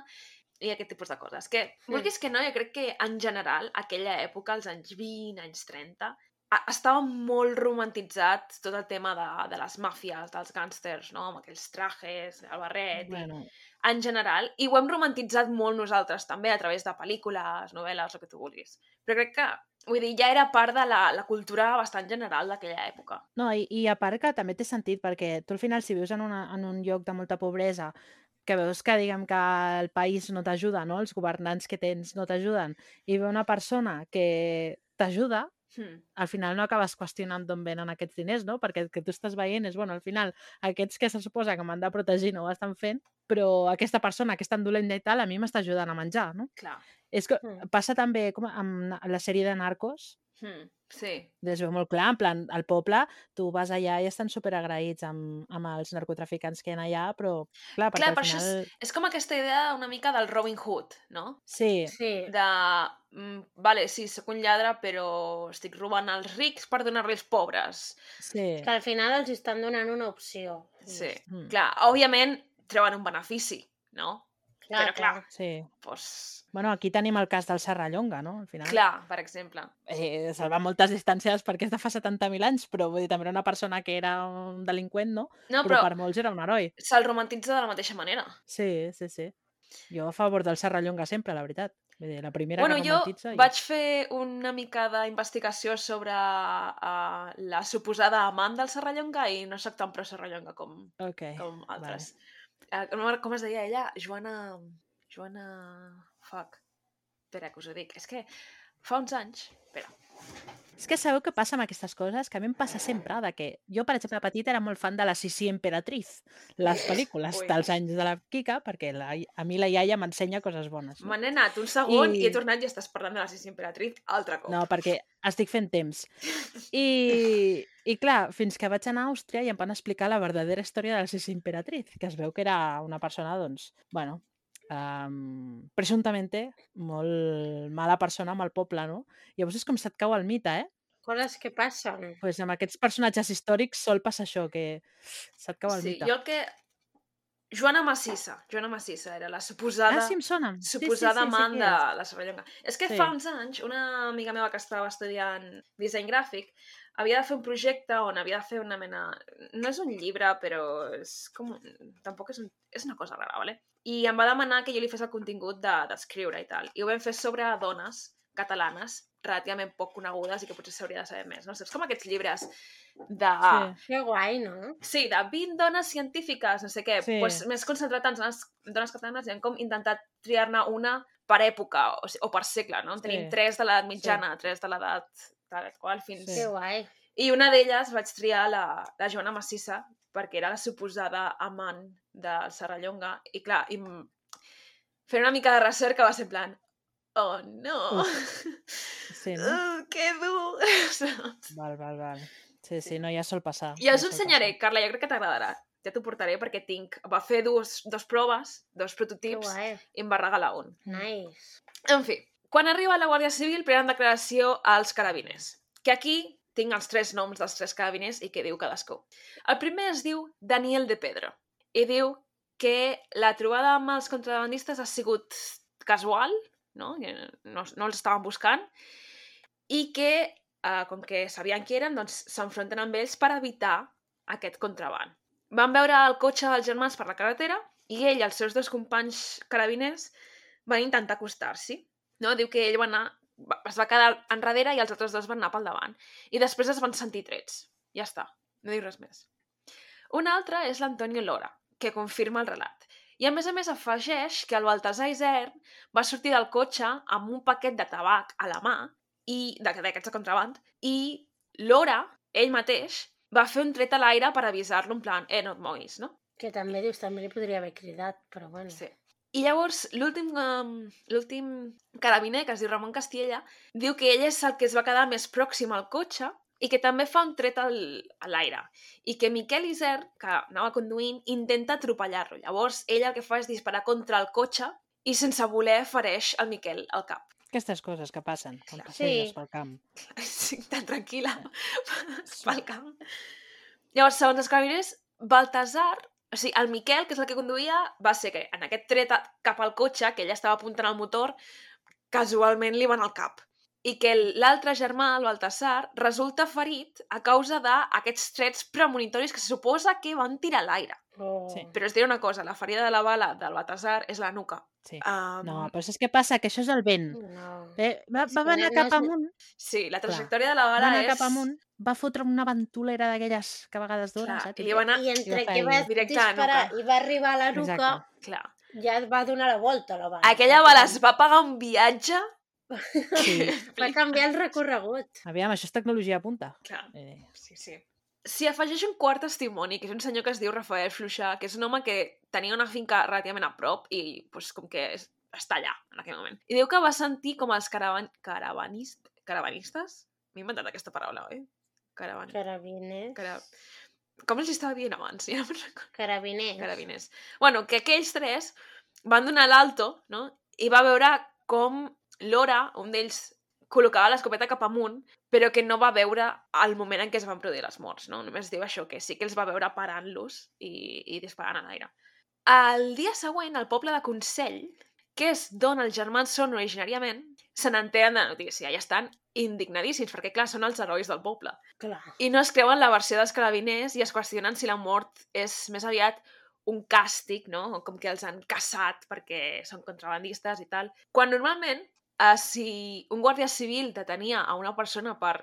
Speaker 1: i aquest tipus de coses. Que,
Speaker 2: Mm.
Speaker 1: vulguis que no, jo crec que en general, aquella època, els anys 20, anys 30, a- estava molt romantitzat tot el tema de, de les màfies, dels gàngsters, no? Amb aquells trajes, el barret... i
Speaker 4: Bueno,
Speaker 1: en general, i ho hem romantitzat molt nosaltres també a través de pel·lícules, novel·les, el que tu vulguis. Però crec que, vull dir, ja era part de la, la cultura bastant general d'aquella època.
Speaker 4: No, i, i a part que també té sentit, perquè tu al final si vius en, una, en un lloc de molta pobresa, que veus que diguem que el país no t'ajuda, no? els governants que tens no t'ajuden, i ve una persona que t'ajuda,
Speaker 1: Hmm.
Speaker 4: al final no acabes qüestionant d'on venen aquests diners, no? Perquè el que tu estàs veient és, bueno, al final, aquests que se suposa que m'han de protegir no ho estan fent, però aquesta persona que és tan dolenta i tal, a mi m'està ajudant a menjar, no?
Speaker 1: Clar.
Speaker 4: És que
Speaker 2: Mm.
Speaker 4: passa també com amb na- la sèrie de Narcos,
Speaker 1: Hmm. Sí.
Speaker 4: es veu molt clar, en plan, al poble, tu vas allà i estan superagraïts amb, amb els narcotraficants que hi ha allà, però clar, perquè
Speaker 1: Clar,
Speaker 4: al
Speaker 1: per això és-
Speaker 4: final...
Speaker 1: És com aquesta idea una mica del Robin Hood, no?
Speaker 4: Sí,
Speaker 2: Sí,
Speaker 1: De, mm, vale, sí, sóc un lladre, però estic robant als rics per donar-li als pobres.
Speaker 4: sí.
Speaker 2: que al final els estan donant una opció.
Speaker 1: Sí.
Speaker 4: Mm.
Speaker 1: Clar, òbviament, treuen un benefici, no? però clar.
Speaker 4: Sí.
Speaker 1: Pues,
Speaker 4: Bueno, aquí tenim el cas del Serrallonga, no? Al final.
Speaker 1: clar, per exemple.
Speaker 4: Eh, salvar moltes distàncies perquè és de fa 70.000 anys, però vull dir, també era una persona que era un delinqüent, no?
Speaker 1: No,
Speaker 4: però,
Speaker 1: però
Speaker 4: per molts era un heroi.
Speaker 1: se'l romantitza de la mateixa manera.
Speaker 4: Sí, sí, sí. Jo a favor del Serrallonga sempre, la veritat. Vull dir, la primera
Speaker 1: Bueno,
Speaker 4: que
Speaker 1: jo
Speaker 4: romantitza...
Speaker 1: vaig fer una mica d'investigació sobre uh, la suposada amant del Serrallonga i no sóc tan pro-Serrallonga com,
Speaker 4: Ok.
Speaker 1: com altres. Vale. Uh, com es deia ella? Joana... Joana... Fuck. Espera, que us ho dic. És que fa uns anys... Espera.
Speaker 4: És que sabeu què passa amb aquestes coses? Que a mi em passa sempre, de que jo, per exemple, petita era molt fan de la Sisi Emperatriz, les pel·lícules
Speaker 1: Ui.
Speaker 4: dels anys de la Quica, perquè la, a mi la iaia m'ensenya coses bones.
Speaker 1: Me n'he anat un segon
Speaker 4: I-
Speaker 1: i... he tornat i estàs parlant de la Sissi Imperatriz altre cop.
Speaker 4: No, perquè estic fent temps. I, I clar, fins que vaig anar a Àustria i em van explicar la verdadera història de la Sisi Imperatriz, que es veu que era una persona, doncs, bueno, um, presumptamente molt mala persona amb el poble, no? Llavors és com se't cau el mite, eh?
Speaker 2: Coses que passen.
Speaker 4: pues amb aquests personatges històrics sol passar això, que se't cau el
Speaker 1: sí,
Speaker 4: mite.
Speaker 1: jo el que... Joana Massissa. Joana Massissa era la suposada...
Speaker 4: Ah, sí, em sonen. Sí, sí,
Speaker 1: suposada
Speaker 4: sí, sí,
Speaker 1: amant
Speaker 4: que
Speaker 1: de
Speaker 4: és.
Speaker 1: la Serrallonga. És que
Speaker 4: Sí.
Speaker 1: fa uns anys, una amiga meva que estava estudiant disseny gràfic havia de fer un projecte on havia de fer una mena... No és un llibre, però és com... un- Tampoc és, un... és una cosa rara, vale? I em va demanar que jo li fes el contingut de- d'escriure de, i tal. I ho vam fer sobre dones catalanes relativament poc conegudes i que potser s'hauria de saber més. No? Saps com aquests llibres de...
Speaker 2: Que guai, no?
Speaker 1: Sí, de 20 dones científiques, no sé què, sí.
Speaker 4: Sí.
Speaker 1: pues, més concentrat en dones, dones catalanes i han com intentat triar-ne una per època o, si- o per segle, no? En Tenim
Speaker 4: Sí.
Speaker 1: tres de l'edat mitjana, tres de l'edat tal qual, fins...
Speaker 4: Sí.
Speaker 2: Que guai.
Speaker 1: I una d'elles vaig triar la, la Joana Massissa, perquè era la suposada amant de Serrallonga, i clar, i m- fer una mica de recerca va ser en plan, oh no,
Speaker 4: Sí, no?
Speaker 1: uh, que dur!
Speaker 4: Val, val, val. Sí, sí, no, ja sol passar.
Speaker 1: Ja us ho
Speaker 4: sol
Speaker 1: ensenyaré, Carla, jo crec que t'agradarà. Ja t'ho portaré perquè tinc... Va fer dues, dos proves, dos
Speaker 2: Que
Speaker 1: prototips,
Speaker 2: guai.
Speaker 1: i em va regalar un.
Speaker 2: Nice.
Speaker 1: En fi, quan arriba la Guàrdia Civil prenen declaració als carabiners, que aquí tinc els tres noms dels tres carabiners i què diu cadascú. El primer es diu Daniel de Pedro i diu que la trobada amb els contrabandistes ha sigut casual, no, Que no, no els estaven buscant, i que, eh, com que sabien qui eren, doncs s'enfronten amb ells per evitar aquest contraban. Van veure el cotxe dels germans per la carretera i ell i els seus dos companys carabiners van intentar acostar-s'hi. No? Diu que ell va anar, va- es va quedar enrere i els altres dos van anar pel davant. I després es van sentir trets. Ja està, no diu res més. Un altre és l'Antonio Lora, que confirma el relat. I a més a més afegeix que el Baltasar Isern va sortir del cotxe amb un paquet de tabac a la mà i d'a- d'aquests de contraband i Lora, ell mateix, va fer un tret a l'aire per avisar-lo en plan, eh, no et moguis, no?
Speaker 2: Que també dius, també li podria haver cridat, però bueno.
Speaker 1: Sí. I llavors, l'últim um, l'últim carabiner, que es diu Ramon Castiella, diu que ell és el que es va quedar més pròxim al cotxe i que també fa un tret al, a l'aire. I que Miquel Iser, que anava conduint, intenta atropellar-lo. Llavors, ell el que fa és disparar contra el cotxe i sense voler fereix el Miquel al cap.
Speaker 4: Aquestes coses que passen quan
Speaker 1: Sí.
Speaker 4: passeges pel camp.
Speaker 1: Estic tan tranquil·la pel camp. Llavors, segons els carabiners, Baltasar, o sigui, el Miquel, que és el que conduïa, va ser que en aquest tret a- cap al cotxe, que ella estava apuntant al motor, casualment li van al cap. I que el- l'altre germà, el Baltasar, resulta ferit a causa d'aquests trets premonitoris que se suposa que van tirar a l'aire.
Speaker 2: Oh.
Speaker 4: Sí.
Speaker 1: Però es diré una cosa, la ferida de la bala del Baltasar és la nuca.
Speaker 4: Sí.
Speaker 1: Um,
Speaker 4: No, però saps què passa? Que això és el vent.
Speaker 1: Mm.
Speaker 2: No.
Speaker 4: Eh, va,
Speaker 2: Sí,
Speaker 4: va
Speaker 2: no-
Speaker 4: anar
Speaker 2: no
Speaker 4: cap
Speaker 2: és-
Speaker 4: amunt,
Speaker 1: Sí, la trajectòria de la
Speaker 4: va
Speaker 1: bala
Speaker 4: anar
Speaker 1: és...
Speaker 4: cap amunt, va fotre una ventolera d'aquelles que a vegades donen,
Speaker 1: Clar,
Speaker 4: saps?
Speaker 1: i li va anar...
Speaker 2: I entre
Speaker 4: la
Speaker 2: que va
Speaker 4: feina.
Speaker 1: Directe a la
Speaker 2: disparar
Speaker 1: nuca.
Speaker 2: i va arribar a la nuca,
Speaker 4: Exacte.
Speaker 1: Clar.
Speaker 2: ja et va donar la volta la bala.
Speaker 1: Aquella
Speaker 2: Va
Speaker 1: bala
Speaker 2: canviar-
Speaker 1: es va pagar un viatge...
Speaker 4: Sí.
Speaker 2: Va canviar el recorregut.
Speaker 4: Aviam, això és tecnologia a punta.
Speaker 1: Clar,
Speaker 4: Eh,
Speaker 1: sí, sí. S'hi afegeix un quart testimoni, que és un senyor que es diu Rafael Fluixà, que és un home que tenia una finca relativament a prop i pues, com que és, està allà en aquell moment. I diu que va sentir com els caravan... caravanist... caravanistes? M'he inventat aquesta paraula, oi? Caravan...
Speaker 2: Carabiners.
Speaker 1: Cara... Com els estava dient abans? Ja no me'n recordo.
Speaker 2: Carabiners.
Speaker 1: carabiners. Bueno, que aquells tres van donar l'alto, no? I va veure com l'Ora, un d'ells, col·locava l'escopeta cap amunt, però que no va veure el moment en què es van produir les morts, no? Només diu això, que sí que els va veure parant-los i, i disparant a l'aire. El dia següent, al poble de Consell, que és d'on els germans són originàriament, se n'enteren de la notícia i estan indignadíssims, perquè, clar, són els herois del poble.
Speaker 2: Clar.
Speaker 1: I no es creuen la versió dels carabiners i es qüestionen si la mort és més aviat un càstig, no? Com que els han caçat perquè són contrabandistes i tal. Quan normalment, eh, si un guàrdia civil detenia a una persona per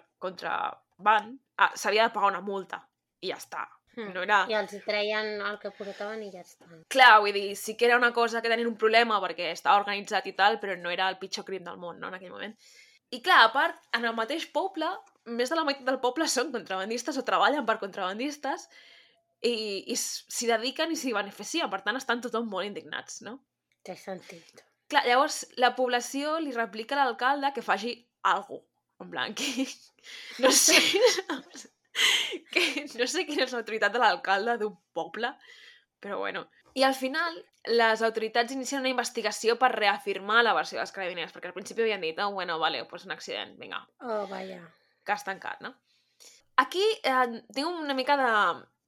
Speaker 1: contraband, eh, s'havia de pagar una multa i ja està.
Speaker 2: Hm.
Speaker 1: No era...
Speaker 2: I els hi treien el que portaven i ja està.
Speaker 1: Clar, vull dir, sí que era una cosa que tenien un problema perquè estava organitzat i tal, però no era el pitjor crim del món, no?, en aquell moment. I clar, a part, en el mateix poble, més de la meitat del poble són contrabandistes o treballen per contrabandistes i, i s- s'hi dediquen i s'hi beneficien, per tant estan tothom molt indignats, no?
Speaker 2: Té sentit.
Speaker 1: Clar, llavors la població li replica a l'alcalde que faci algo. En plan, que... No sé... que no sé quina és l'autoritat de l'alcalde d'un poble, però bueno. I al final, les autoritats inicien una investigació per reafirmar la versió dels carabiners, perquè al principi havien dit, oh, bueno, vale, pues un accident, vinga,
Speaker 2: Oh, vaja.
Speaker 1: cas tancat, no? Aquí eh, tinc una mica de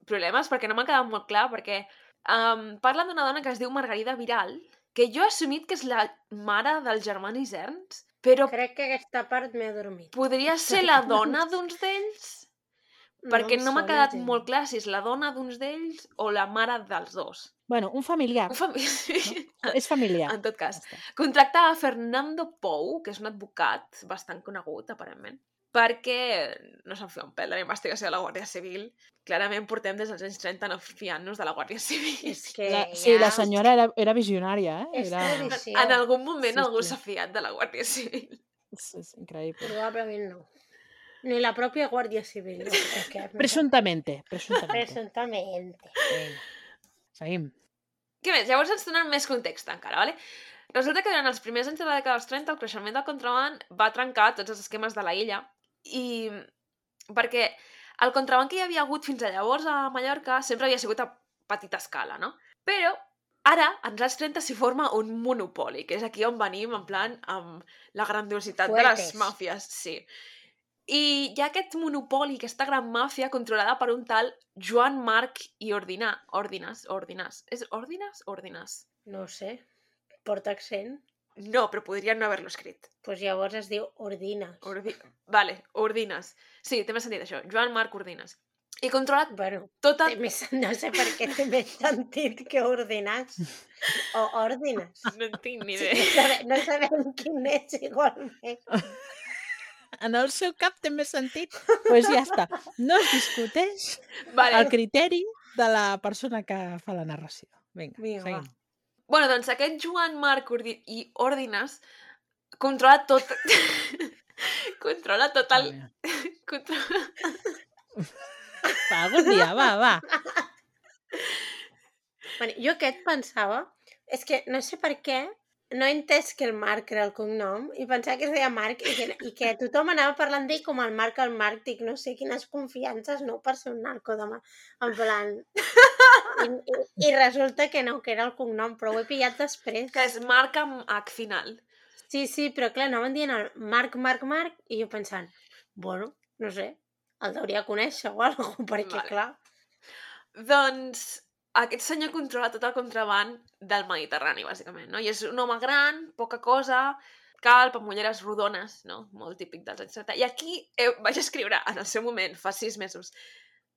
Speaker 1: problemes perquè no m'ha quedat molt clar, perquè um, parla d'una dona que es diu Margarida Viral, que jo he assumit que és la mare del germà Iserns, però
Speaker 2: Crec que aquesta part m'he adormit.
Speaker 1: podria ser la dona d'uns d'ells, perquè
Speaker 2: em
Speaker 1: no, m'ha
Speaker 2: sona
Speaker 1: quedat
Speaker 2: gens.
Speaker 1: molt clar si és la dona d'uns d'ells o la mare dels dos.
Speaker 4: Bueno, un familiar.
Speaker 1: Un famí-
Speaker 4: És familiar.
Speaker 1: en tot
Speaker 4: Ja
Speaker 1: cas,
Speaker 4: està.
Speaker 1: Contracta a Fernando Pou, que és un advocat bastant conegut, aparentment, perquè no se'n fia un pèl de la investigació de la Guàrdia Civil. Clarament portem des dels anys 30 no fiant-nos de la Guàrdia Civil.
Speaker 2: És que
Speaker 4: La, sí,
Speaker 2: Eh, ja-
Speaker 4: la senyora era, era visionària, eh?
Speaker 2: És
Speaker 4: Era...
Speaker 2: tradició.
Speaker 1: En algun moment
Speaker 4: Sí,
Speaker 1: algú
Speaker 4: sí.
Speaker 1: s'ha fiat de la Guàrdia Civil.
Speaker 4: És, és increïble.
Speaker 2: Probablement no. Ni la pròpia Guàrdia Civil. jo crec que-
Speaker 4: Presuntamente, presuntamente.
Speaker 2: Presuntamente.
Speaker 4: Vinga. Seguim.
Speaker 1: Què més? Llavors ens donen més context encara, vale? Resulta que durant els primers anys de la dècada dels 30 el creixement del contraban va trencar tots els esquemes de la illa i perquè el contraban que hi havia hagut fins a llavors a Mallorca sempre havia sigut a petita escala, no? Però ara, als anys 30, s'hi forma un monopoli, que és aquí on venim, en plan, amb la grandiositat de
Speaker 2: Fuertes.
Speaker 1: les màfies, sí. I hi ha aquest monopoli, aquesta gran màfia controlada per un tal Joan Marc i Ordinà. Ordinàs, Ordinàs. És Ordinàs? Ordinàs.
Speaker 2: No ho sé. Porta accent.
Speaker 1: No, però podrien no haver-lo escrit.
Speaker 2: Pues llavors es diu Ordines.
Speaker 1: Ordi... Vale, Ordines. Sí, té més sentit això. Joan Marc Ordines. I controla
Speaker 2: Bueno,
Speaker 1: tota...
Speaker 2: té més, no sé per què té més sentit que ordinats o ordines.
Speaker 1: No en tinc ni
Speaker 2: No,
Speaker 1: idea.
Speaker 2: sabe, no sabem quin és igualment.
Speaker 4: En el seu cap té més sentit. Doncs pues ja està. No es discuteix
Speaker 1: Vale.
Speaker 4: el criteri de la persona que fa la narració. Vinga,
Speaker 2: Vinga, va.
Speaker 4: seguim.
Speaker 1: Bueno, doncs aquest Joan Marc Ordi... i Ordines controla tot... controla tot el...
Speaker 4: Vinga.
Speaker 1: Controla...
Speaker 4: Va, algun dia, va, va.
Speaker 2: Bueno, jo aquest pensava... És que no sé per què no he entès que el Marc era el cognom i pensava que es deia Marc i que, i que tothom anava parlant d'ell com el Marc, el Marc, dic, no sé quines confiances, no, per ser un narco de mà. En plan... I, i, I resulta que no, que era el cognom, però ho he pillat després.
Speaker 1: Que es marca amb H final.
Speaker 2: Sí, sí, però clar, anaven dient el Marc, Marc, Marc, i jo pensant, bueno, no sé, el deuria conèixer o alguna cosa, perquè
Speaker 1: Vale.
Speaker 2: vale. clar...
Speaker 1: Doncs aquest senyor controla tot el contraban del Mediterrani, bàsicament, no? I és un home gran, poca cosa, calp, amb ulleres rodones, no? Molt típic dels anys 70. I aquí eh, vaig escriure, en el seu moment, fa sis mesos,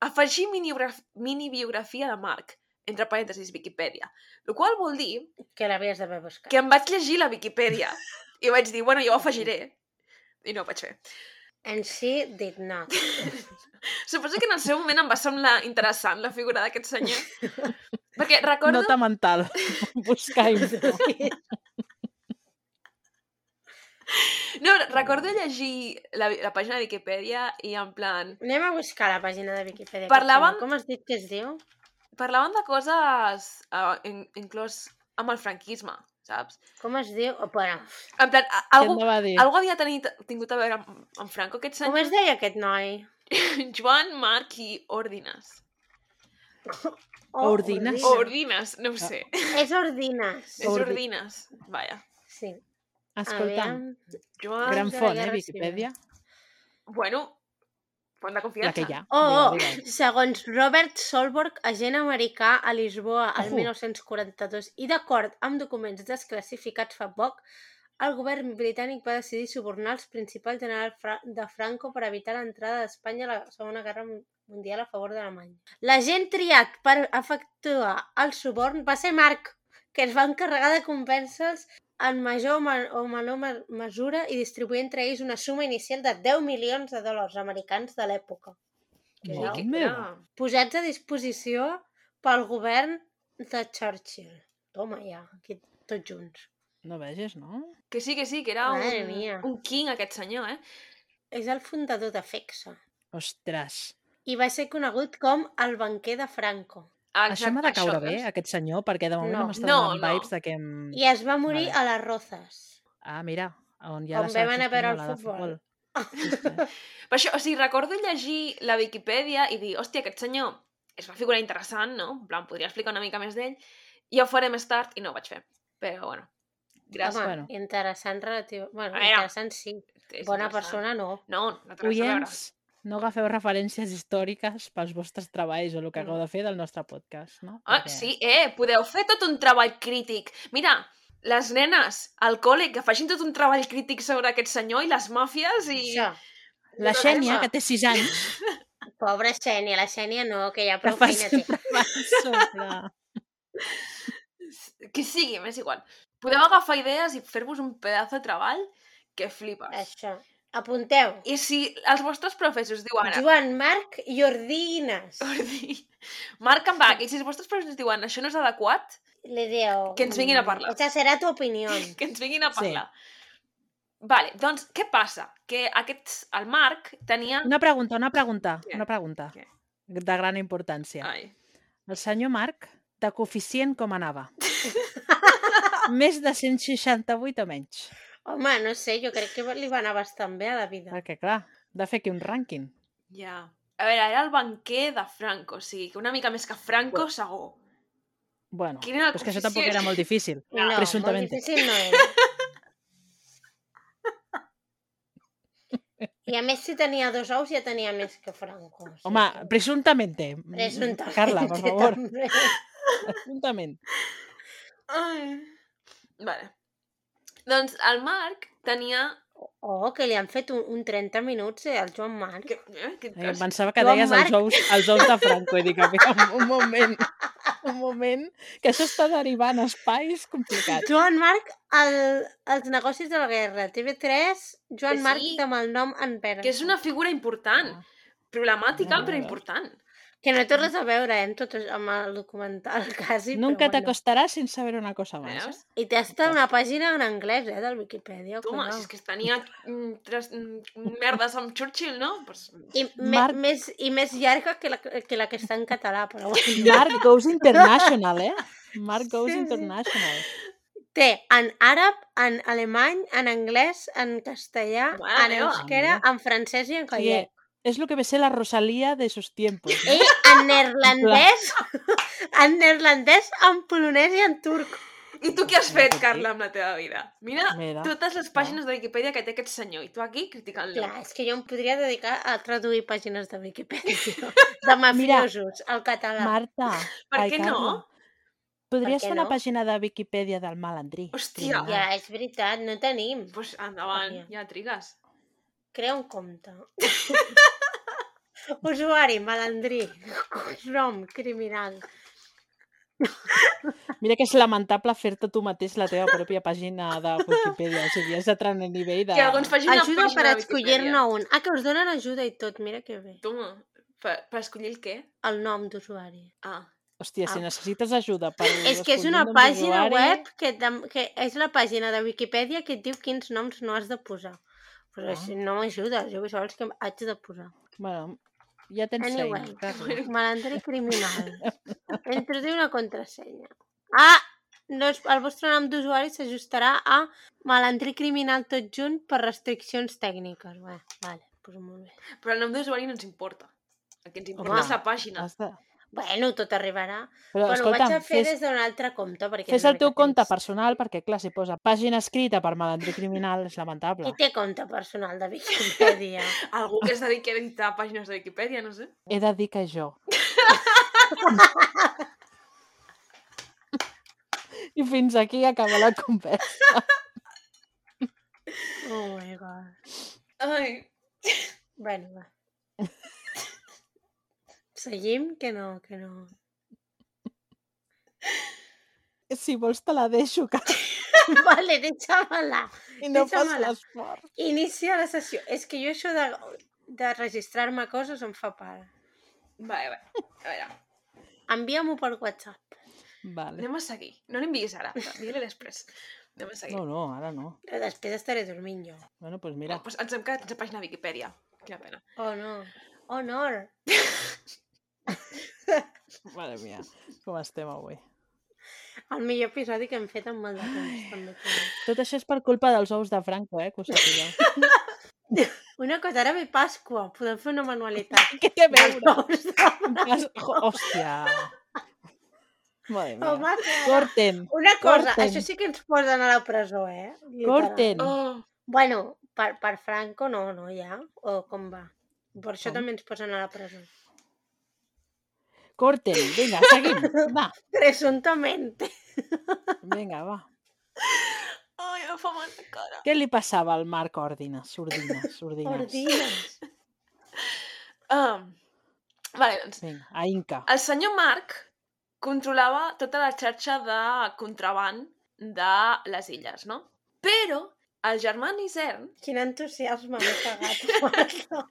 Speaker 1: afegir minibiografia, minibiografia de Marc, entre parèntesis, Viquipèdia. El qual vol dir
Speaker 2: Que l'havies d'haver buscat.
Speaker 1: que em vaig llegir la Viquipèdia i vaig dir, bueno, jo ho afegiré. I no ho vaig fer.
Speaker 2: And she did not.
Speaker 1: Suposo que en el seu moment em va semblar interessant la figura d'aquest senyor. Perquè recordo...
Speaker 4: Nota mental. Buscar info.
Speaker 1: No, recordo llegir la, la pàgina de Wikipedia i en plan...
Speaker 2: Anem a buscar la pàgina de Wikipedia.
Speaker 1: Parlàvem-
Speaker 2: Parlàvem... Com has dit que es diu?
Speaker 1: Parlaven de coses uh, in, inclòs amb el franquisme, saps?
Speaker 2: Com es diu? Oh, bueno,
Speaker 1: En plan, a-
Speaker 4: Què
Speaker 1: algú,
Speaker 4: em va dir?
Speaker 1: algú havia tenit, tingut a veure amb, amb Franco aquest
Speaker 2: com
Speaker 1: senyor.
Speaker 2: es deia aquest noi?
Speaker 1: Joan Marc i Ordines.
Speaker 2: Oh,
Speaker 4: Ordines.
Speaker 1: O Ordines, no ho
Speaker 4: Ah,
Speaker 1: sé.
Speaker 2: És Ordines.
Speaker 1: És
Speaker 4: Ordi-
Speaker 1: Ordines. Vaja.
Speaker 2: Sí.
Speaker 4: Escolta'm,
Speaker 2: aviam.
Speaker 1: Joan...
Speaker 4: gran
Speaker 2: de la
Speaker 4: font, eh,
Speaker 2: Guerra
Speaker 4: Viquipèdia?
Speaker 1: Bueno, font de
Speaker 4: La
Speaker 1: confiança.
Speaker 4: que hi ha.
Speaker 2: Oh, oh,
Speaker 4: Vinga,
Speaker 2: segons Robert Solborg, agent americà a Lisboa al
Speaker 4: Ojo.
Speaker 2: 1942 i d'acord amb documents desclassificats fa poc, el govern britànic va decidir subornar els principals general Fra de Franco per evitar l'entrada d'Espanya a la Segona Guerra Mun- Mundial a favor d'Alemanya. L'agent triat per efectuar el suborn va ser Marc, que es va encarregar de compensa'ls en major o men- o menor me- mesura i distribuir entre ells una suma inicial de 10 milions de dòlars americans de l'època que hi ha.
Speaker 4: Mare
Speaker 1: Que-
Speaker 4: meva.
Speaker 1: ah.
Speaker 2: posats a disposició pel govern de Churchill. Toma ja, aquí tots junts.
Speaker 4: No vegis, no?
Speaker 1: Que sí, que sí, que era
Speaker 2: Madre
Speaker 1: un,
Speaker 2: mia.
Speaker 1: un king aquest senyor, eh?
Speaker 2: És el fundador de FEXA
Speaker 4: Ostres.
Speaker 2: i va ser conegut com el banquer de Franco
Speaker 4: Això m'ha de caure bé,
Speaker 1: veus?
Speaker 4: aquest senyor, perquè de moment
Speaker 2: No.
Speaker 4: no, m'està
Speaker 1: doncs. No,
Speaker 4: donant
Speaker 1: no.
Speaker 4: vibes de que... Em...
Speaker 2: i es va morir
Speaker 4: Vale.
Speaker 2: a les Rozas.
Speaker 4: Ah, mira, on hi ha
Speaker 2: On
Speaker 4: la selecció
Speaker 2: vam anar a veure el
Speaker 4: espanyola de
Speaker 2: futbol.
Speaker 4: Ostres,
Speaker 1: Però això, o sigui, recordo llegir la Viquipèdia i dir, hòstia, aquest senyor és una figura interessant, no? En plan, podria explicar una mica més d'ell. Ja ho faré més tard i no ho vaig fer. Però, bueno, gràcies.
Speaker 2: Home,
Speaker 4: bueno.
Speaker 2: interessant relatiu...
Speaker 1: A
Speaker 2: Bueno,
Speaker 1: veure.
Speaker 2: interessant sí,
Speaker 1: és
Speaker 2: bona
Speaker 1: interessant.
Speaker 2: persona no.
Speaker 1: No, no té res a veure.
Speaker 4: Oients, no agafeu referències històriques pels vostres treballs o el que
Speaker 2: No.
Speaker 4: acabeu de fer del nostre podcast, no?
Speaker 1: Ah,
Speaker 4: Perquè-
Speaker 1: sí, eh, podeu fer tot un treball crític. Mira, les nenes al col·le que facin tot un treball crític sobre aquest senyor i les màfies i...
Speaker 2: Això.
Speaker 4: La
Speaker 2: Però,
Speaker 4: Xènia,
Speaker 2: Emma,
Speaker 4: que té 6 anys,
Speaker 2: Pobra Xènia, la Xènia no, que ja
Speaker 4: que
Speaker 2: prou
Speaker 4: fa
Speaker 2: feina té.
Speaker 4: sempre abans sobre...
Speaker 1: Qui sigui, m'és igual. Podeu agafar idees i fer-vos un pedazo de treball que flipes.
Speaker 2: Això. Apunteu.
Speaker 1: I si els vostres profes us diuen...
Speaker 2: Joan Marc Jordi Inés.
Speaker 1: Jordi, Marc en Bach, i si els vostres profes us diuen això no és adequat,
Speaker 2: Le diu...
Speaker 1: Que ens vinguin a parlar.
Speaker 2: Esa serà tu opinió.
Speaker 1: que ens vinguin a
Speaker 4: Sí.
Speaker 1: parlar. Vale, doncs què passa? Que aquest, el Marc tenia...
Speaker 4: Una pregunta, una pregunta,
Speaker 1: Què?
Speaker 4: una pregunta.
Speaker 1: Què? Ah.
Speaker 4: De gran importància.
Speaker 1: Ai.
Speaker 4: El senyor Marc, de coeficient com anava? Més de 168 o menys.
Speaker 2: Home, no sé, jo crec que li va anar bastant bé a la vida.
Speaker 4: Perquè, clar, de fer aquí un rànquing.
Speaker 1: Ja. A veure, era el banquer de Franco, o sigui, que una mica més que Franco, segur.
Speaker 4: Bueno,
Speaker 1: Quin era el
Speaker 4: però és que això tampoc
Speaker 1: coeficient?
Speaker 4: era molt difícil.
Speaker 2: No, molt
Speaker 4: presuntamente.
Speaker 2: difícil no era. I a més, si tenia dos ous, ja tenia més que Franco. Sí,
Speaker 4: Home,
Speaker 2: sí.
Speaker 4: presuntamente. mm,
Speaker 2: Presuntamente
Speaker 4: Carla, per favor.
Speaker 2: també.
Speaker 4: Presuntament.
Speaker 1: Ai. Vale. Doncs el Marc tenia...
Speaker 2: Oh, que li han fet un, un 30 minuts eh, al Joan Marc.
Speaker 1: Que, eh, que,
Speaker 4: Ai, em pensava que
Speaker 2: Joan
Speaker 4: deies els
Speaker 2: Marc.
Speaker 4: ous, els ous de Franco. I dic, a veure, un, un moment, un moment, que això està derivant a espais complicats.
Speaker 2: Joan Marc, el, els negocis de la guerra. TV3, Joan
Speaker 1: Que
Speaker 2: Marc
Speaker 1: sí.
Speaker 2: amb el nom en Pere.
Speaker 1: que és una figura important. Problemàtica,
Speaker 4: Ah,
Speaker 1: però
Speaker 4: veus.
Speaker 1: important.
Speaker 2: Que no té res a veure eh, amb, tot, això- amb el documental, quasi. però
Speaker 4: Nunca
Speaker 2: bueno.
Speaker 4: t'acostaràs sense saber una cosa més.
Speaker 1: Veus?
Speaker 2: I té hasta una pàgina en anglès, eh, del Wikipedia.
Speaker 1: Toma,
Speaker 2: cuidao.
Speaker 1: si és que tenia mm, tres mm, merdes amb Churchill, no? Pues,
Speaker 2: I, me,
Speaker 4: Marc-
Speaker 2: més, I més llarga que la, que la que està en català, però
Speaker 4: eh?"
Speaker 2: bueno.
Speaker 4: Mark goes international, eh? Mark goes
Speaker 2: Sí, sí.
Speaker 4: international.
Speaker 2: Té en àrab, en alemany, en anglès, en castellà,
Speaker 1: Mare
Speaker 2: en
Speaker 1: meva.
Speaker 2: euskera, en francès i en
Speaker 4: O sigui,
Speaker 2: gallec.
Speaker 4: és el que ve ser la Rosalía de sus tiempos.
Speaker 2: I Eh, en neerlandès, en neerlandès, en polonès i en turc.
Speaker 1: I tu què has fet,
Speaker 4: Sí.
Speaker 1: Carla, amb la teva vida? Mira,
Speaker 4: Mira,
Speaker 1: totes les pàgines de Wikipedia que té aquest senyor i tu aquí criticant-lo.
Speaker 2: Clar, és que jo em podria dedicar a traduir pàgines de Wikipedia, de mafiosos, al català.
Speaker 4: Marta,
Speaker 1: Per
Speaker 4: ai,
Speaker 1: què no?
Speaker 4: Carla, podries
Speaker 2: què
Speaker 4: fer
Speaker 2: no?
Speaker 4: una pàgina de Wikipedia del malandrí?
Speaker 1: Hòstia.
Speaker 4: Vinga.
Speaker 2: Ja, és veritat, no tenim.
Speaker 1: Pues endavant,
Speaker 2: Vaja.
Speaker 1: ja trigues.
Speaker 2: Crea un compte. Usuari, malandrí, nom, criminal.
Speaker 4: Mira que és lamentable fer-te tu mateix la teva pròpia pàgina de Wikipedia. O sigui, has de treure el nivell de...
Speaker 1: Que algú ens faci una
Speaker 2: Ajuda
Speaker 1: pàgina
Speaker 2: per
Speaker 1: de
Speaker 2: escollir-ne
Speaker 1: Wikipedia.
Speaker 2: un. Ah, que us donen ajuda i tot, mira que bé.
Speaker 1: Toma, per, per escollir el què?
Speaker 2: El nom d'usuari.
Speaker 1: Ah,
Speaker 4: Hòstia, si
Speaker 2: Ah.
Speaker 4: necessites ajuda per...
Speaker 2: És que és
Speaker 4: escollir
Speaker 2: una
Speaker 4: un nom
Speaker 2: pàgina
Speaker 4: d'usuari,
Speaker 2: web que, tam- que és la pàgina de Wikipedia que et diu quins noms no has de posar. Però
Speaker 4: Ah.
Speaker 2: si no m'ajuda, jo vull saber els que haig de posar.
Speaker 4: Bueno, ja tens
Speaker 2: Anyway.
Speaker 4: feina, Carla.
Speaker 2: Malandre criminal. Introduir una contrasenya. Ah, doncs el vostre nom d'usuari s'ajustarà a malandrí criminal tot junt per restriccions tècniques. Bé, vale, doncs molt bé.
Speaker 1: però el nom d'usuari no ens importa. El que ens importa
Speaker 4: Home.
Speaker 1: és la pàgina.
Speaker 4: Has de...
Speaker 2: Bueno, tot arribarà.
Speaker 4: Però,
Speaker 2: Bueno,
Speaker 4: escolta,
Speaker 2: ho vaig a fer
Speaker 4: fes,
Speaker 2: des d'un altre compte. Perquè
Speaker 4: fes
Speaker 2: no
Speaker 4: el teu
Speaker 2: arriba
Speaker 4: compte
Speaker 2: temps.
Speaker 4: personal, perquè, clar, si posa pàgina escrita per malandrí criminal és lamentable.
Speaker 2: Qui té compte personal de Wikipedia?
Speaker 1: Algú que es dediqui a editar pàgines de Wikipedia, no sé.
Speaker 4: He de dir que jo. I fins aquí acaba la conversa.
Speaker 2: oh my god.
Speaker 1: Ai,
Speaker 2: Bueno, va. Seguim? Que no, que no.
Speaker 4: Si vols te la deixo, que
Speaker 2: Vale, deixa-me-la.
Speaker 4: i no fas
Speaker 2: Deixa-me-la.
Speaker 4: l'esport.
Speaker 2: Inicia la sessió. És que jo això de, de registrar-me coses em fa pare.
Speaker 1: va, va. A veure,
Speaker 2: Envia-m'ho per WhatsApp.
Speaker 4: Vale.
Speaker 1: anem a seguir. No l'enviïs ara, digue-li després. Anem a seguir.
Speaker 4: No, no, ara no.
Speaker 2: Però després estaré dormint jo.
Speaker 4: Bueno, doncs mira.
Speaker 1: Mira. Pues ens hem quedat sense pàgina de Wikipedia. Quina pena.
Speaker 2: Oh, no. Honor.
Speaker 1: Oh.
Speaker 4: Mare mia, com estem avui.
Speaker 2: El millor episodi que hem fet amb molt de temps. També. t'ho
Speaker 4: Tot això és per culpa dels ous de Franco, eh, que ho sapigueu.
Speaker 2: dic. Una cosa, ara ve Pasqua. Podem fer una manualitat.
Speaker 4: Què té a
Speaker 2: Dels
Speaker 4: veure?
Speaker 2: ous de-
Speaker 4: Has- jo- Hòstia. Madre
Speaker 1: Oh,
Speaker 4: mia.
Speaker 2: Home, que-
Speaker 4: Corten,
Speaker 2: Una cosa,
Speaker 4: Corten.
Speaker 2: això sí que ens posen a la presó, eh? Literal.
Speaker 4: corten.
Speaker 1: Oh,
Speaker 2: Bueno, per, per Franco no, no, ja? O com va? Per això
Speaker 4: Com?
Speaker 2: també ens posen a la presó.
Speaker 4: Corten, vinga, seguim. Va,
Speaker 2: Presuntamente.
Speaker 4: vinga, va.
Speaker 1: Oh, ai, em fa mal la cara.
Speaker 4: Què li passava al Marc Ordines? Ordines, Ordines.
Speaker 2: Ordines.
Speaker 1: Um, vale, doncs,
Speaker 4: Vinga, a Inca.
Speaker 1: El senyor Marc controlava tota la xarxa de contraban de les illes, no? Però el germà Nicern
Speaker 2: Quin entusiasme m'he cagat.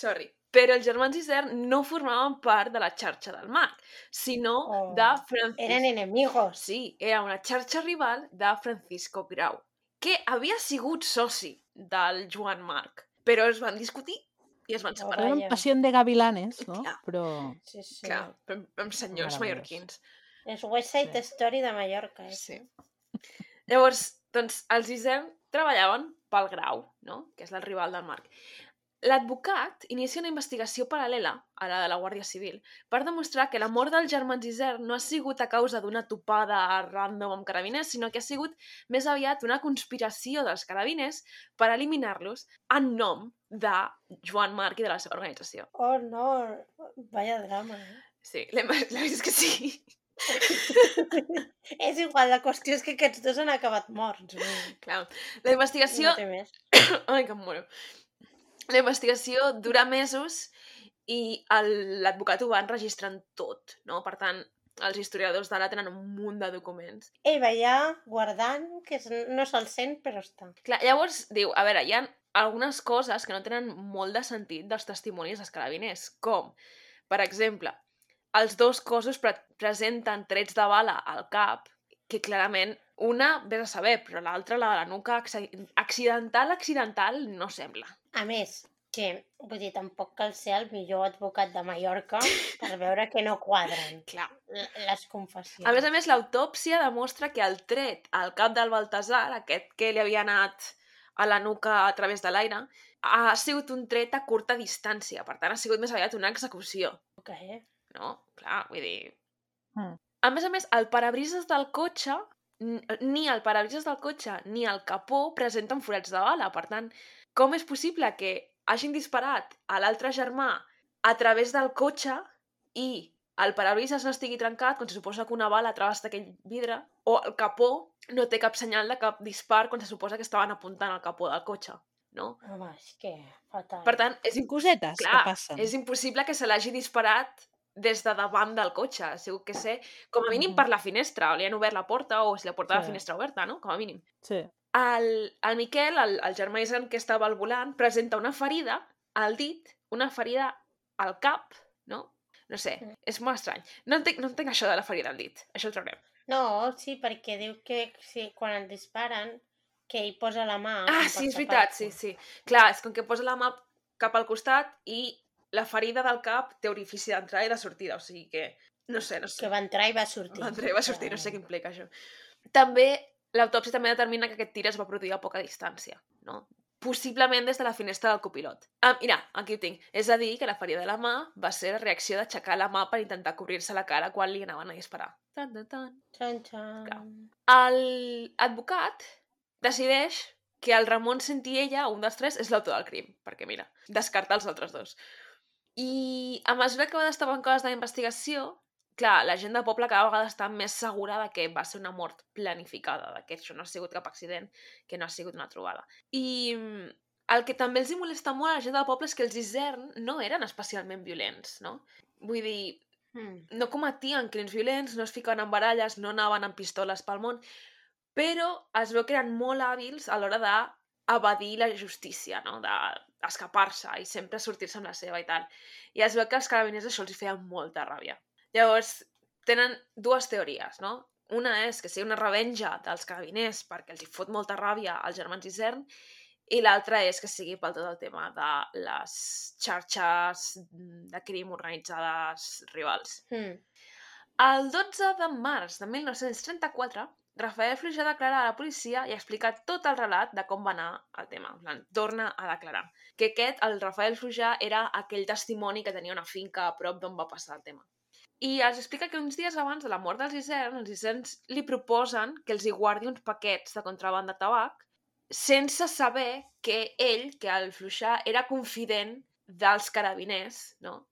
Speaker 1: Sorry. Però els germans Isern no formaven part de la xarxa del mag, sinó
Speaker 2: Oh.
Speaker 1: de Francisco...
Speaker 2: Eren enemigos.
Speaker 1: Sí, era una xarxa rival de Francisco Grau, que havia sigut soci del Joan Marc, però es van discutir i es van
Speaker 2: Oh,
Speaker 1: separar.
Speaker 4: Era una
Speaker 2: Vaya.
Speaker 4: passió de gavilanes, no?
Speaker 1: Clar.
Speaker 4: Però...
Speaker 2: Sí, sí.
Speaker 1: Clar, amb, amb senyors
Speaker 4: Meravellós.
Speaker 1: mallorquins.
Speaker 2: És West Side
Speaker 4: Sí.
Speaker 2: Story de Mallorca. Eh?
Speaker 1: Sí. Llavors, doncs, els Isern treballaven pel Grau, no? que és el rival del Marc. L'advocat inicia una investigació paral·lela a la de la Guàrdia Civil per demostrar que la mort dels germans Isern no ha sigut a causa d'una topada random amb carabiners, sinó que ha sigut més aviat una conspiració dels carabiners per eliminar-los en nom de Joan Marc i de la seva organització.
Speaker 2: Oh, no. Vaya drama. Eh?
Speaker 1: Sí, la, la veritat és que sí.
Speaker 2: és igual, la qüestió és que aquests dos han acabat morts. vull
Speaker 1: Clar. La
Speaker 2: dir,
Speaker 1: investigació
Speaker 2: No té més.
Speaker 1: Ai, que em moro. La investigació dura mesos i el- l'advocat ho va enregistrant tot, no? Per tant, els historiadors d'ara tenen un munt de documents.
Speaker 2: Ell va allà guardant, que es- no se'l sent, però està.
Speaker 1: Clar, llavors diu, a veure, hi ha algunes coses que no tenen molt de sentit dels testimonis dels carabiners, com, per exemple, els dos cossos pre presenten trets de bala al cap, que clarament una, vés a saber, però l'altra, la de la nuca, acci- accidental, accidental, no sembla.
Speaker 2: A més, que, vull dir, tampoc cal ser el millor advocat de Mallorca per veure que no quadren
Speaker 1: Clar,
Speaker 2: l- les confessions.
Speaker 1: A més a més, l'autòpsia demostra que el tret al cap del Baltasar, aquest que li havia anat a la nuca a través de l'aire, ha sigut un tret a curta distància. Per tant, ha sigut més aviat una execució,
Speaker 2: Ok, eh?
Speaker 1: no? Clar, vull dir...
Speaker 4: Mm.
Speaker 1: A més a més, el parabrises del cotxe, n- ni el parabrises del cotxe ni el capó presenten forats de bala. Per tant, com és possible que hagin disparat a l'altre germà a través del cotxe i el parabrises no estigui trencat, quan se suposa que una bala travessa aquell vidre, o el capó no té cap senyal de cap dispar quan se suposa que estaven apuntant al capó del cotxe, no?
Speaker 2: Home, és que fatal.
Speaker 1: Per tant, és,
Speaker 4: Són
Speaker 1: impo-
Speaker 4: cosetes
Speaker 1: clar,
Speaker 4: que passen.
Speaker 1: és impossible que se l'hagi disparat des de davant del cotxe, ha sigut que sé, com a mínim
Speaker 4: Mhm.
Speaker 1: per la finestra, o li han obert la porta, o si la porta de la
Speaker 4: Sí.
Speaker 1: finestra oberta, no? Com a mínim.
Speaker 4: Sí.
Speaker 1: El, el Miquel, el, el germà Isan que estava al volant, presenta una ferida al dit, una ferida al cap, no? No sé, és molt estrany. No entenc, no entenc això de la ferida al dit, això ho traurem.
Speaker 2: No, sí, perquè diu que si, quan el disparen, que hi posa la mà...
Speaker 1: Ah,
Speaker 2: com
Speaker 1: sí,
Speaker 2: per
Speaker 1: és veritat, sí,
Speaker 2: tapar-se.
Speaker 1: sí. Clar, és com que posa la mà cap al costat i la ferida del cap té orifici d'entrada i de sortida, o sigui que... No sé, no sé.
Speaker 2: Que va entrar i va sortir.
Speaker 1: L'André va sortir, no sé què implica això. També, l'autòpsia també determina que aquest tir es va produir a poca distància, no? Possiblement des de la finestra del copilot. Ah, mira, aquí ho tinc. És a dir, que la ferida de la mà va ser la reacció d'aixecar la mà per intentar cobrir-se la cara quan li anaven a disparar. Tan, tan, tan.
Speaker 2: Txan, txan.
Speaker 1: Clar. El advocat decideix que el Ramon Sentiella, un dels tres, és l'autor del crim, perquè mira, descarta els altres dos. I a mesura que va destapant coses de la investigació, clar, la gent del poble cada vegada està més segura de que va ser una mort planificada, de que això no ha sigut cap accident, que no ha sigut una trobada. I mm, el que també els hi molesta molt a la gent del poble és que els Isern no eren especialment violents, no? Vull dir,
Speaker 2: Mm.
Speaker 1: no cometien crims violents, no es ficaven en baralles, no anaven amb pistoles pel món, però es veu que eren molt hàbils a l'hora d'evadir la justícia, no? d'escapar-se i sempre sortir-se amb la seva i tal. I es veu que als carabiners això els hi feia molta ràbia. Llavors, tenen dues teories, no? Una és que sigui una revenja dels carabiners perquè els hi fot molta ràbia als germans Isern i l'altra és que sigui pel tot el tema de les xarxes de crim organitzades rivals.
Speaker 2: Mm.
Speaker 1: El 12 de març de 1934, Rafael Fluixà declara a la policia i explica tot el relat de com va anar el tema. En plan, torna a declarar que aquest, el Rafael Fluixà, era aquell testimoni que tenia una finca a prop d'on va passar el tema. I els explica que uns dies abans de la mort dels Isern, els Iserns li proposen que els hi guardi uns paquets de contraband de tabac sense saber que ell, que el Fluixà, era confident dels carabiners, no?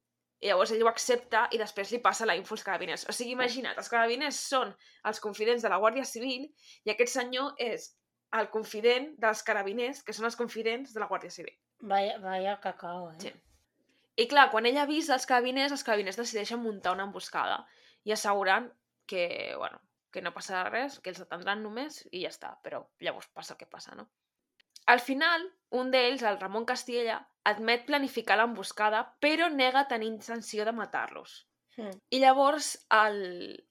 Speaker 1: I llavors ell ho accepta i després li passa la info als carabiners. O sigui, imagina't, els carabiners són els confidents de la Guàrdia Civil i aquest senyor és el confident dels carabiners, que són els confidents de la Guàrdia Civil.
Speaker 2: Vaya, vaya cacao, eh?
Speaker 1: Sí. I clar, quan ell avisa els carabiners, els carabiners decideixen muntar una emboscada i asseguren que, bueno, que no passarà res, que els atendran només i ja està, però llavors passa el que passa, no? Al final, un d'ells, el Ramon Castilla, admet planificar l'emboscada, però nega tenir intenció de matar-los.
Speaker 2: Mm.
Speaker 1: I llavors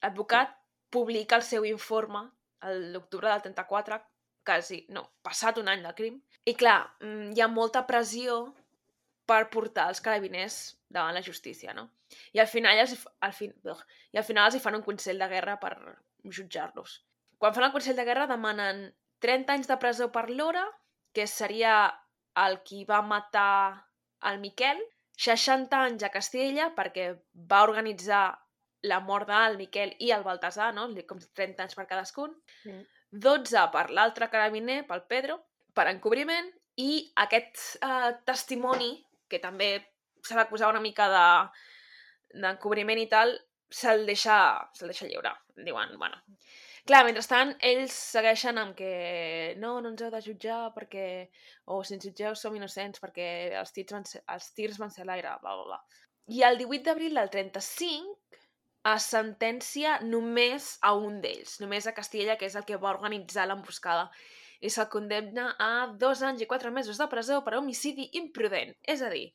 Speaker 1: l'advocat publica el seu informe a l'octubre del 34, quasi, no, passat un any del crim. I clar, mm, hi ha molta pressió per portar els carabiners davant la justícia, no? I al final els, hi f- al fin, ugh, i al final els hi fan un consell de guerra per jutjar-los. Quan fan el consell de guerra demanen 30 anys de presó per l'hora, que seria el qui va matar el Miquel, 60 anys a Castella perquè va organitzar la mort del Miquel i el Baltasar, no? Li- com 30 anys per cadascun,
Speaker 2: Mm.
Speaker 1: 12 per l'altre carabiner, pel Pedro, per encobriment, i aquest eh, testimoni, que també s'ha d'acusar una mica de- d'encobriment de, i tal, se'l deixa, se deixa lliure. Diuen, bueno... Clar, mentrestant, ells segueixen amb que no, no ens heu de jutjar perquè... o si ens jutgeu oh, som innocents perquè els tirs van ser, els tirs van ser a l'aire, bla, bla, bla. I el 18 d'abril del 35 a sentència només a un d'ells, només a Castilla, que és el que va organitzar l'emboscada, i se'l condemna a dos anys i quatre mesos de presó per homicidi imprudent. És a dir,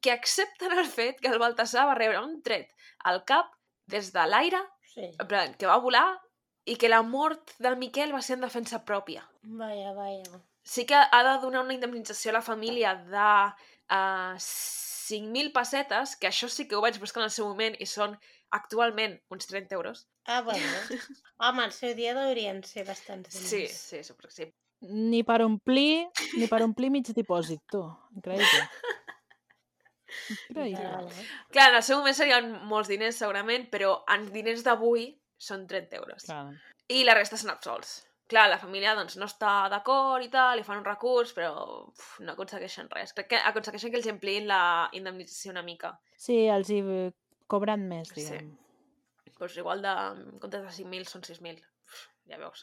Speaker 1: que accepten el fet que el Baltasar va rebre un tret al cap des de l'aire,
Speaker 2: Sí.
Speaker 1: en plan, que va volar, i que la mort del Miquel va ser en defensa pròpia
Speaker 2: Vaja, vaja.
Speaker 1: sí que ha de donar una indemnització a la família de uh, 5.000 pessetes, que això sí que ho vaig buscar en el seu moment i són actualment uns 30 euros.
Speaker 2: Ah, bueno. Home, el seu dia deurien ser bastants
Speaker 1: Sí, sí, suposo que sí.
Speaker 4: Ni per omplir, ni per omplir mig dipòsit, tu. Increïble. Increïble.
Speaker 2: Literal, eh?
Speaker 1: Clar, en el seu moment serien molts diners, segurament, però en diners d'avui són 30 euros.
Speaker 4: Clar.
Speaker 1: I la resta són absolts. Clar, la família doncs, no està d'acord i tal, li fan un recurs, però uf, no aconsegueixen res. Crec que aconsegueixen que els ampliïn la indemnització una mica.
Speaker 4: Sí, els hi cobren més,
Speaker 1: Sí.
Speaker 4: diguem.
Speaker 1: doncs igual de, en comptes de 5.000 són 6.000. Uf, Ja veus.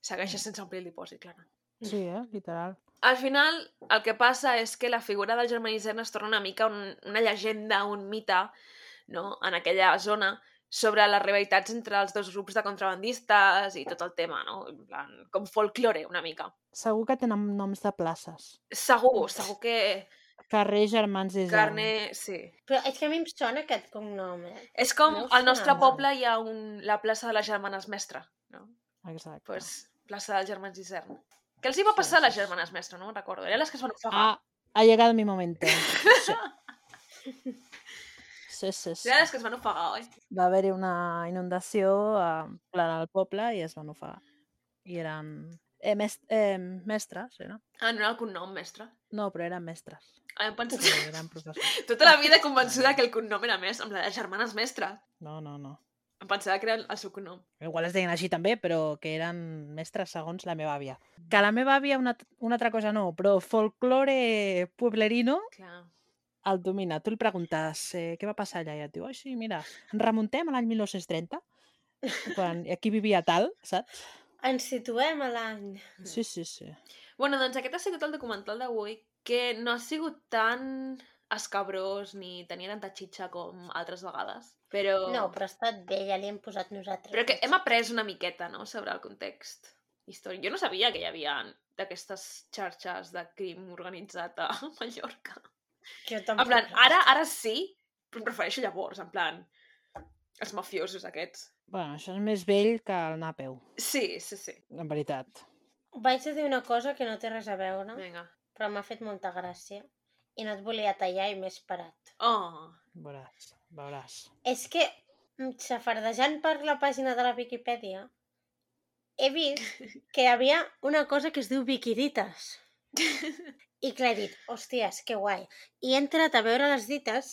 Speaker 1: Segueixes sense omplir el dipòsit, clar.
Speaker 4: Sí, eh? Literal.
Speaker 1: Al final, el que passa és que la figura del germà Isern es torna una mica un, una llegenda, un mite, no?, en aquella zona, sobre les rivalitats entre els dos grups de contrabandistes i tot el tema, no? En plan, com folklore, una mica.
Speaker 4: Segur que tenen noms de places.
Speaker 1: Segur, segur que
Speaker 4: Carrer Germans Isern.
Speaker 1: carne... Sí.
Speaker 2: Però és que a mi em sona aquest cognom, eh?
Speaker 1: És com
Speaker 2: No us
Speaker 1: al nostre
Speaker 2: sonava?
Speaker 1: poble hi ha un, la plaça de les germanes mestre, no?
Speaker 4: Exacte.
Speaker 1: pues, plaça dels germans Isern. Què els hi va passar a les germanes mestre? No me'n recordo. Eren les que es van ofegar.
Speaker 4: Ah, ha llegado mi momento. Sí. Sí, sí, sí.
Speaker 1: Eren les que es van ofegar, oi?
Speaker 4: Va haver-hi una ah, inundació a plan al poble i es van ofegar. I eren eh, mes, eh, mestres, era?
Speaker 1: Ah, no era el cognom, mestre.
Speaker 4: No, però eren mestres.
Speaker 1: Ah, em penso...
Speaker 4: No, eren professors.
Speaker 1: Tota la vida convençuda que el cognom era més, amb la de germanes mestre.
Speaker 4: No, no, no.
Speaker 1: Em pensava que era el seu cognom.
Speaker 4: Igual es deien així també, però que eren mestres segons la meva àvia. Que la meva àvia una, una altra cosa no, però folklore pueblerino
Speaker 1: Clar.
Speaker 4: el domina. Tu li preguntes eh, què va passar allà i et diu, ai, sí, mira, ens remuntem a l'any 1930, quan aquí vivia tal, saps?
Speaker 2: Ens situem a l'any.
Speaker 4: Sí, sí, sí.
Speaker 1: Bueno, doncs aquest ha sigut el documental d'avui, que no ha sigut tan escabrós ni tenia tanta xitxa com altres vegades. Però...
Speaker 2: No, però ha estat bé, ja li hem posat nosaltres.
Speaker 1: Però que hem après una miqueta, no?, sobre el context històric. Jo no sabia que hi havia d'aquestes xarxes de crim organitzat a Mallorca.
Speaker 2: Jo
Speaker 1: En
Speaker 2: tampoc. eh?
Speaker 1: plan, ara, ara sí, però em refereixo llavors, en plan, els mafiosos aquests.
Speaker 4: Bueno, això és més vell que el anar a peu,
Speaker 1: Sí, sí, sí.
Speaker 4: en veritat.
Speaker 2: Vaig a dir una cosa que no té res a veure,
Speaker 1: Vinga.
Speaker 2: però m'ha fet molta gràcia. I no et volia tallar i m'he esperat.
Speaker 1: Oh,
Speaker 4: Veuràs, veuràs.
Speaker 2: És que, mm, xafardejant per la pàgina de la Viquipèdia, he vist que hi havia una cosa que es diu Viquidites. I clar, he dit, hòsties, que guai. I he entrat a veure les dites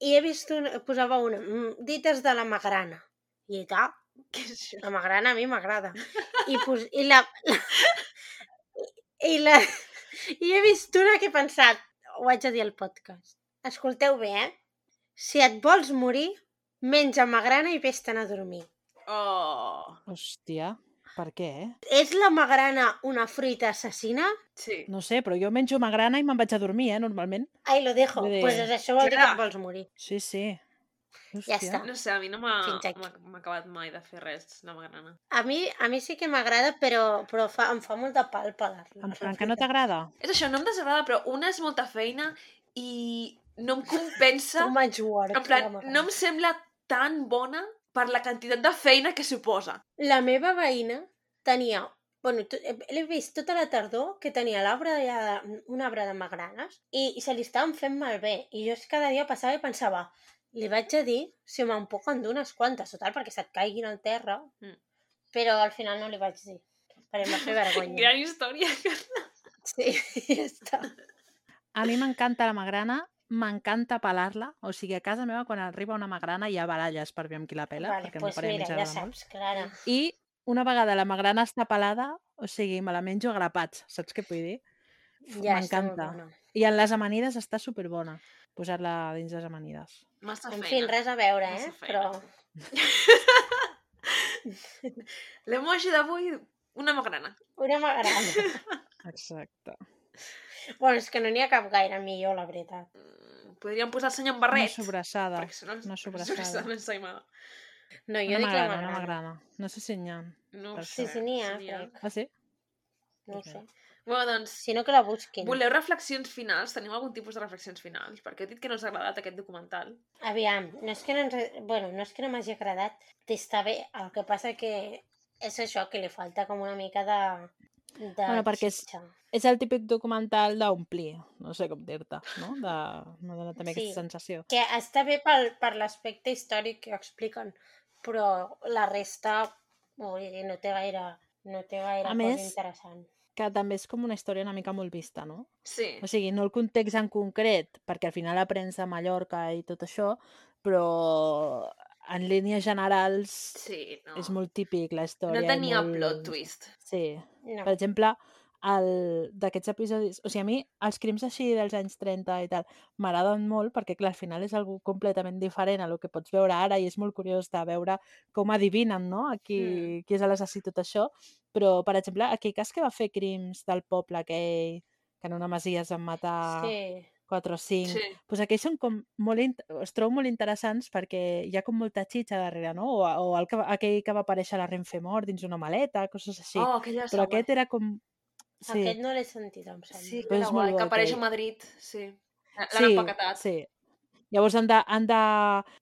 Speaker 2: i he vist, una, posava una, mm, dites de la Magrana. I he dit, ah,
Speaker 1: què és això?
Speaker 2: La magrana a mi m'agrada. I, pos... I la... I la... I he vist una que he pensat, ho haig de dir al podcast. Escolteu bé, eh? Si et vols morir, menja magrana i vés-te'n a dormir.
Speaker 1: Oh,
Speaker 4: Hòstia, per què? eh?
Speaker 2: És la magrana una fruita assassina?
Speaker 1: sí.
Speaker 4: No sé, però jo menjo magrana i me'n vaig a dormir, eh, normalment.
Speaker 2: Ai, lo dejo.
Speaker 4: Vull dir,
Speaker 2: Doncs pues és això vol dir que
Speaker 1: clar.
Speaker 2: et vols morir.
Speaker 4: Sí, sí.
Speaker 2: Ja està.
Speaker 1: No sé, a mi no m'ha
Speaker 2: Fins aquí.
Speaker 1: m'ha- m'ha acabat mai de fer res la magrana.
Speaker 2: A mi, a mi sí que m'agrada, però, però fa, em fa molta pal pelar-la.
Speaker 4: En
Speaker 2: la
Speaker 4: Franca no
Speaker 2: veritat.
Speaker 4: t'agrada?
Speaker 1: És això, no em desagrada, però una és molta feina i no em compensa...
Speaker 2: Un menys word.
Speaker 1: en plan, no em sembla tan bona per la quantitat de feina que suposa.
Speaker 2: La meva veïna tenia... Bueno, to- eh, l'he vist tota la tardor que tenia l'arbre de, un arbre de magranes i, i se li estaven fent malbé. I jo és que cada dia passava i pensava li vaig a dir si me'n puc endur unes quantes, total, perquè se't caiguin al terra.
Speaker 1: Mm.
Speaker 2: Però al final no li vaig dir, perquè em va fer vergonya.
Speaker 1: Gran història.
Speaker 2: Sí, ja està.
Speaker 4: A mi m'encanta la magrana, m'encanta pelar-la. O sigui, a casa meva, quan arriba una magrana, hi ha baralles per veure amb qui la pela,
Speaker 2: vale,
Speaker 4: perquè
Speaker 2: doncs
Speaker 4: a mi
Speaker 2: mira, ja
Speaker 4: m'agrada
Speaker 2: saps, Clara.
Speaker 4: molt. I una vegada la magrana està pelada, o sigui, me la menjo a grapats, saps què vull dir? Uf,
Speaker 2: Ja està molt
Speaker 4: M'encanta.
Speaker 2: bona.
Speaker 4: I en les amanides està superbona, posar-la dins les amanides.
Speaker 1: Massa
Speaker 2: En
Speaker 1: feina.
Speaker 2: fi, res a veure, eh?
Speaker 1: Massa
Speaker 2: Però
Speaker 1: feina. L'emoji d'avui, una magrana.
Speaker 2: una m'agrada.
Speaker 4: Exacte.
Speaker 2: bueno, és que no n'hi ha cap gaire millor, la veritat.
Speaker 1: Mm, Podríem posar el senyor en
Speaker 4: Una
Speaker 1: barret.
Speaker 4: sobrassada.
Speaker 1: perquè si no ens-
Speaker 4: una
Speaker 1: ens
Speaker 4: sobrassada.
Speaker 1: sona ensaïmada.
Speaker 2: No, jo
Speaker 4: Una
Speaker 2: dic la
Speaker 4: magrana, una
Speaker 2: m'agrada.
Speaker 4: magrana. No sé si n'hi ha.
Speaker 1: No ho
Speaker 4: Per
Speaker 1: sé,
Speaker 4: sort.
Speaker 2: Sí, sí, n'hi ha,
Speaker 1: si
Speaker 2: crec.
Speaker 4: Ah, sí?
Speaker 2: No ho
Speaker 4: Ok.
Speaker 2: sé.
Speaker 1: Bueno, doncs,
Speaker 2: Si no, que la busquin.
Speaker 1: voleu reflexions finals? Teniu algun tipus de reflexions finals? Perquè he dit que no us ha agradat aquest documental.
Speaker 2: Aviam, no és que no, ens... bueno, no, és que no m'hagi agradat, està bé, el que passa que és això, que li falta com una mica de... de
Speaker 4: Bueno, perquè és-
Speaker 2: xitxa.
Speaker 4: És el típic documental d'omplir, no sé com dir-te, no? De... M'ha donat també
Speaker 2: Sí.
Speaker 4: aquesta sensació.
Speaker 2: Que està bé pel, per l'aspecte històric que expliquen, però la resta, vull dir, no té gaire, no té gaire
Speaker 4: A
Speaker 2: cosa
Speaker 4: més-
Speaker 2: interessant.
Speaker 4: Que també és com una història una mica molt vista, no?
Speaker 1: Sí.
Speaker 4: O sigui, no el context en concret, perquè al final la premsa a Mallorca i tot això, però en línies generals
Speaker 1: Sí, no.
Speaker 4: és molt típic la
Speaker 1: no
Speaker 4: història. i
Speaker 1: tenia
Speaker 4: molt...
Speaker 1: plot twist.
Speaker 4: Sí.
Speaker 2: No.
Speaker 4: Per exemple, el... d'aquests episodis... O sigui, a mi els crims així dels anys 30 i tal m'agraden molt perquè, clar, al final és algú completament diferent a el que pots veure ara i és molt curiós de veure com adivinen, no?, a qui, mm. qui és l'assassí i tot això. Però, per exemple, aquell cas que va fer crims del poble aquell, que en una masia es van matar sí.
Speaker 2: Sí.
Speaker 4: 4 o 5,
Speaker 1: Sí.
Speaker 4: pues aquells són com molt, int- els trobo molt interessants perquè hi ha com molta xitxa darrere, no? O, o el que, va- aquell que va aparèixer a la Renfe mort dins una maleta, coses així.
Speaker 1: Oh, aquella
Speaker 4: Però
Speaker 1: està
Speaker 4: aquest era com...
Speaker 2: Sí.
Speaker 4: Sí,
Speaker 2: Aquest no l'he sentit, em
Speaker 1: guai.
Speaker 2: sembla.
Speaker 1: Sí,
Speaker 4: però
Speaker 1: que
Speaker 4: és
Speaker 1: era
Speaker 4: molt
Speaker 1: guai,
Speaker 4: bo
Speaker 1: que apareix a
Speaker 4: aquell.
Speaker 1: Madrid. Sí. L'han
Speaker 4: sí,
Speaker 1: empaquetat.
Speaker 4: sí. Llavors han de, han de...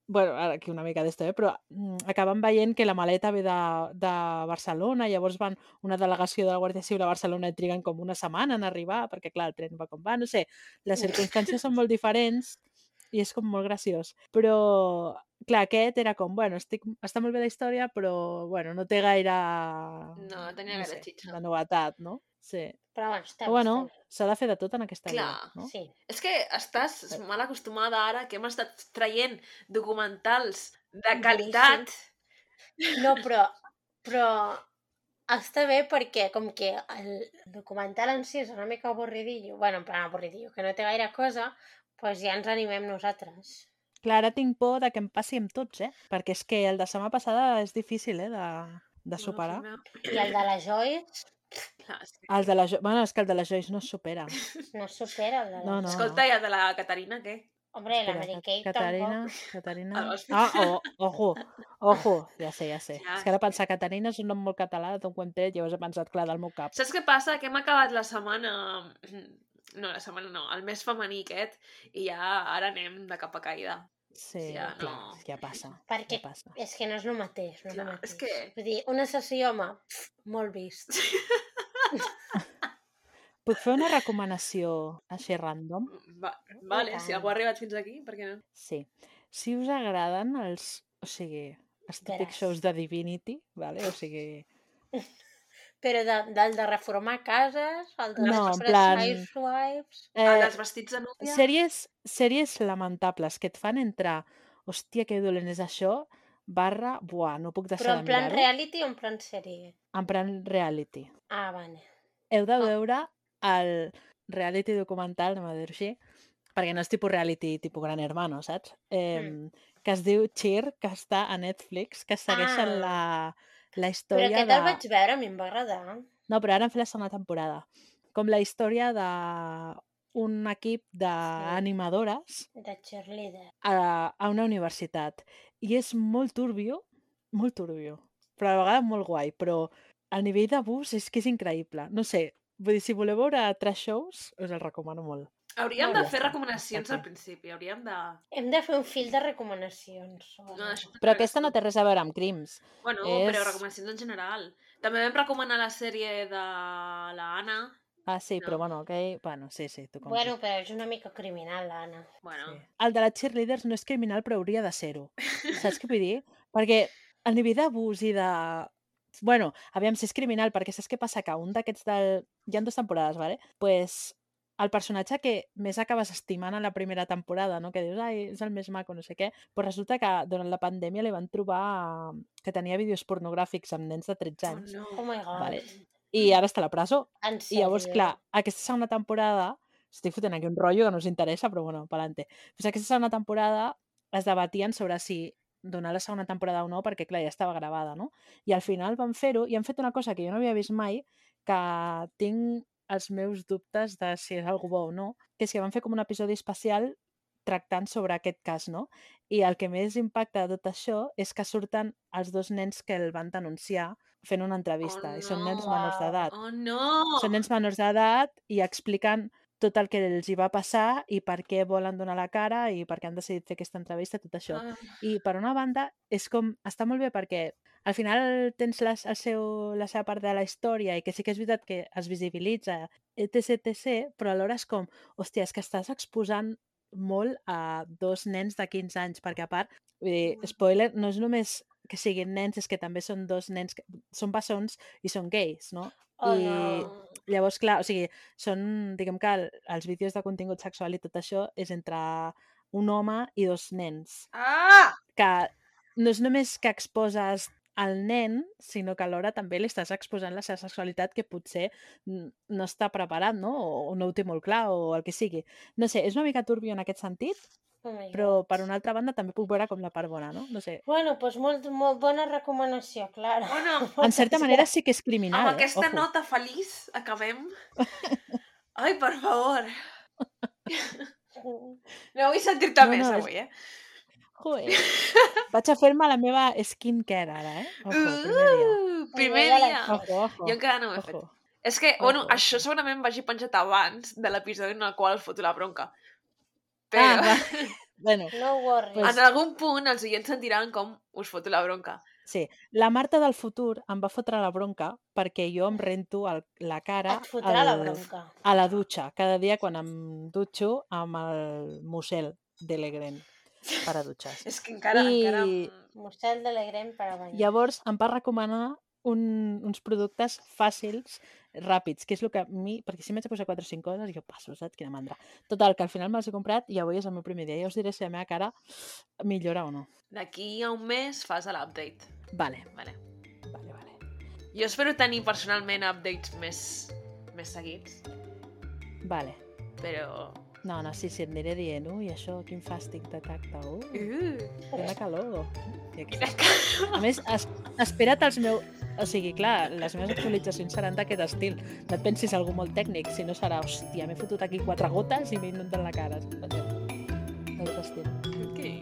Speaker 4: bueno, ara aquí una mica d'esto, eh? però mm, acaben veient que la maleta ve de, de Barcelona, llavors van una delegació de la Guàrdia Civil a Barcelona i triguen com una setmana en arribar, perquè clar, el tren va com va, no sé, les circumstàncies són molt diferents i és com molt graciós. Però, clar, aquest era com, bueno, estic, està molt bé la història, però, bueno, no té gaire...
Speaker 1: No, tenia gaire xitxa.
Speaker 4: La novetat, no? Sí.
Speaker 2: Però bueno, està bé,
Speaker 4: Però, bueno,
Speaker 2: Ah, està
Speaker 4: s'ha de fer de tot en aquesta
Speaker 1: Clar.
Speaker 4: vida, no?
Speaker 2: bé. Sí.
Speaker 1: És que estàs mal acostumada ara que hem estat traient documentals de qualitat.
Speaker 2: No, però, però està bé perquè com que el documental en si és una mica avorridillo, bueno, en plan avorridillo, que no té gaire cosa, doncs ja ens animem nosaltres.
Speaker 4: Clar, ara tinc por de que em passi amb tots, eh? Perquè és que el de setmana passada és difícil, eh? De, de superar.
Speaker 1: No,
Speaker 2: I el de la Joyce
Speaker 1: clar, és que-
Speaker 4: El de la jo... Bueno, és que el de la Joyce no es supera.
Speaker 2: no es supera el de la...
Speaker 4: No, no.
Speaker 1: Escolta, i el de la Caterina, què?
Speaker 2: Hombre, la
Speaker 4: Espera,
Speaker 2: Mary
Speaker 4: Ca-
Speaker 2: Kate
Speaker 4: Caterina,
Speaker 2: tampoc.
Speaker 4: Caterina...
Speaker 1: vas
Speaker 4: Ah, o, ojo, ojo, ja sé, ja sé.
Speaker 1: Ja.
Speaker 4: És que ara pensar Caterina és un nom molt català, d'on ho hem tret, llavors he pensat, clar, del meu cap.
Speaker 1: Saps què passa? Que hem acabat la setmana... No, la setmana no, el mes femení aquest, i ja ara anem de cap a caïda.
Speaker 4: Sí,
Speaker 1: Ja,
Speaker 4: clar,
Speaker 1: no.
Speaker 4: és que ja passa.
Speaker 2: Perquè
Speaker 4: Ja passa.
Speaker 2: és que no és el mateix, no és el
Speaker 1: Clar,
Speaker 2: mateix.
Speaker 1: és que-
Speaker 2: Vull dir, un assassí home, pf, molt vist.
Speaker 4: Puc fer una recomanació així random?
Speaker 1: Va, vale,
Speaker 2: tant.
Speaker 1: si algú ha arribat fins aquí, per què no?
Speaker 4: Sí. Si us agraden els... O sigui, els típics
Speaker 2: Veràs.
Speaker 4: shows de Divinity, vale? o sigui,
Speaker 2: Però de, del de reformar cases, el de
Speaker 4: No, en
Speaker 2: Desperate
Speaker 4: plan-
Speaker 2: Housewives...
Speaker 1: Eh,
Speaker 4: eh,
Speaker 1: els vestits de núvia?
Speaker 4: sèries, sèries lamentables que et fan entrar hòstia, que dolent és això, barra, buah, no puc deixar
Speaker 2: Però en
Speaker 4: de
Speaker 2: plan
Speaker 4: mirar-ho.
Speaker 2: reality o en plan sèrie?
Speaker 4: En plan reality.
Speaker 2: Ah, vale.
Speaker 4: Heu
Speaker 2: Ah.
Speaker 4: de veure el reality documental, no m'ha de dir així, perquè no és tipus reality, tipus Gran Hermano, saps? Eh,
Speaker 2: Mm.
Speaker 4: Que es diu Cheer, que està a Netflix, que segueixen
Speaker 2: Ah.
Speaker 4: la, la
Speaker 2: Però
Speaker 4: història
Speaker 2: aquest
Speaker 4: de...
Speaker 2: el vaig veure, a mi em va agradar.
Speaker 4: No, però ara han fet la segona temporada. Com la història de un equip d'animadores
Speaker 2: de cheerleader.
Speaker 4: a, a una universitat. I és molt turbio, molt turbio, però a la vegada molt guai, però a nivell d'abús és que és increïble. No sé, vull dir, si voleu veure tres shows, us el recomano molt.
Speaker 1: Hauríem
Speaker 4: Bueno,
Speaker 1: de
Speaker 4: ja
Speaker 1: fer
Speaker 4: està,
Speaker 1: recomanacions
Speaker 4: ja
Speaker 1: al
Speaker 4: està.
Speaker 1: principi, hauríem de...
Speaker 2: Hem de fer un fil de recomanacions.
Speaker 1: No, això
Speaker 4: Però aquesta no té res a veure amb crims.
Speaker 1: Bueno,
Speaker 4: és-
Speaker 1: però recomanacions en general. També vam recomanar la sèrie de la Anna.
Speaker 4: Ah, sí,
Speaker 1: No.
Speaker 4: però bueno, ok. Bueno, sí, sí, tu com
Speaker 2: Bueno, però és una mica criminal, l'Anna.
Speaker 1: Bueno,
Speaker 4: Sí. El de les cheerleaders no és criminal, però hauria de ser-ho. Saps què vull dir? Perquè a nivell d'abús i de... Bueno, aviam si és criminal, perquè saps què passa? Que un d'aquests del... Hi ha dues temporades, vale? pues, el personatge que més acabes estimant a la primera temporada, no? que dius, ai, és el més maco, no sé què, però resulta que durant la pandèmia li van trobar que tenia vídeos pornogràfics amb nens de 13 anys
Speaker 1: no.
Speaker 2: Oh my god.
Speaker 4: Vale. i ara està a la presó.
Speaker 2: En
Speaker 4: I llavors,
Speaker 2: sèrio?
Speaker 4: clar, aquesta segona temporada, estic fotent aquí un rotllo que no us interessa, però bueno, pa'lante. Pues aquesta segona temporada es debatien sobre si donar la segona temporada o no, perquè clar, ja estava gravada, no? I al final van fer-ho i han fet una cosa que jo no havia vist mai, que tinc els meus dubtes de si és algú bo o no, que és que van fer com un episodi especial tractant sobre aquest cas, no? I el que més impacta de tot això és que surten els dos nens que el van denunciar fent una entrevista, i són nens
Speaker 1: no,
Speaker 4: menors d'edat
Speaker 1: Oh, no!
Speaker 4: són nens menors d'edat i expliquen tot el que els hi va passar i per què volen donar la cara i per què han decidit fer aquesta entrevista, tot això.
Speaker 1: Ah,
Speaker 4: I per una banda, és com, està molt bé perquè al final tens les, el seu, la seva part de la història i que sí que és veritat que es visibilitza, etc, etc, però alhora és com, hòstia, és que estàs exposant molt a dos nens de 15 anys, perquè a part, vull dir, spoiler, no és només que siguin nens, és que també són dos nens, que, són bessons i són gais, no?
Speaker 2: Oh,
Speaker 4: I
Speaker 2: no.
Speaker 4: Llavors, clar, o sigui, són, diguem que el- els vídeos de contingut sexual i tot això és entre un home i dos nens,
Speaker 1: ah!
Speaker 4: que no és només que exposes al nen, sinó que alhora també li estàs exposant la seva sexualitat que potser n- no està preparat, no? O, o no ho té molt clar, o el que sigui. No sé, és una mica turbio en aquest sentit,
Speaker 2: Oh my
Speaker 4: però
Speaker 2: God.
Speaker 4: per una altra banda també puc veure com la part bona, no? No sé.
Speaker 2: Bueno, doncs molt, molt bona recomanació, Clara.
Speaker 1: Bueno,
Speaker 4: En certa
Speaker 2: Moltes
Speaker 4: manera sí que és criminal,
Speaker 1: amb aquesta
Speaker 4: eh? Ojo.
Speaker 1: nota feliç acabem. Ai, per favor.
Speaker 2: gràcies.
Speaker 1: No vull sentir-te
Speaker 4: No,
Speaker 1: no, més
Speaker 4: no, és-
Speaker 1: avui, eh?
Speaker 4: Joder. Vaig a fer-me la meva skincare ara, eh? Ojo, primer dia.
Speaker 1: Uh, primer
Speaker 2: Vuela la
Speaker 1: dia.
Speaker 2: flor.
Speaker 4: Ojo, ojo.
Speaker 1: Jo encara no ho he fet.
Speaker 4: Ojo.
Speaker 1: És que, bueno,
Speaker 4: Ojo.
Speaker 1: això segurament vagi penjat abans de l'episodi en el qual foto la bronca.
Speaker 4: Ah,
Speaker 1: Però ah,
Speaker 4: va. bueno,
Speaker 2: No worries.
Speaker 4: Pues-
Speaker 1: en algun punt els oients sentiran com us foto la bronca.
Speaker 4: sí. La Marta del futur em va fotre la bronca perquè jo em rento el, la cara
Speaker 2: Et fotrà la
Speaker 4: al-
Speaker 2: bronca.
Speaker 4: a la dutxa. Cada dia quan em dutxo amb el musel de Legren per a dutxes.
Speaker 1: És que encara...
Speaker 4: I-
Speaker 1: encara...
Speaker 2: Mossèn de l'Egrem per a banyar.
Speaker 4: Llavors em va recomanar un, uns productes fàcils, ràpids, que és el que a mi... Perquè si m'haig de posar 4 o 5 coses, jo passo, saps? Quina mandra. Total, que al final me'ls he comprat i avui és el meu primer dia. Ja us diré si la meva cara millora o no.
Speaker 1: D'aquí a un mes fas l'update.
Speaker 4: Vale,
Speaker 1: Vale.
Speaker 4: vale, vale.
Speaker 1: Jo espero tenir personalment updates més, més seguits,
Speaker 4: Vale.
Speaker 1: però...
Speaker 4: No, no, sí, sí, et aniré dient, ui, això, quin fàstic de tacte, ui,
Speaker 1: Uh,
Speaker 4: quina calor. I aquí
Speaker 1: quina
Speaker 4: està.
Speaker 1: cara!
Speaker 4: A més, es, espera't els meus... O sigui, clar, les meves actualitzacions seran d'aquest estil. No et pensis algú molt tècnic, si no serà, hòstia, m'he fotut aquí quatre gotes i m'he inundat la cara. saps? D'aquest estil.
Speaker 1: Okay.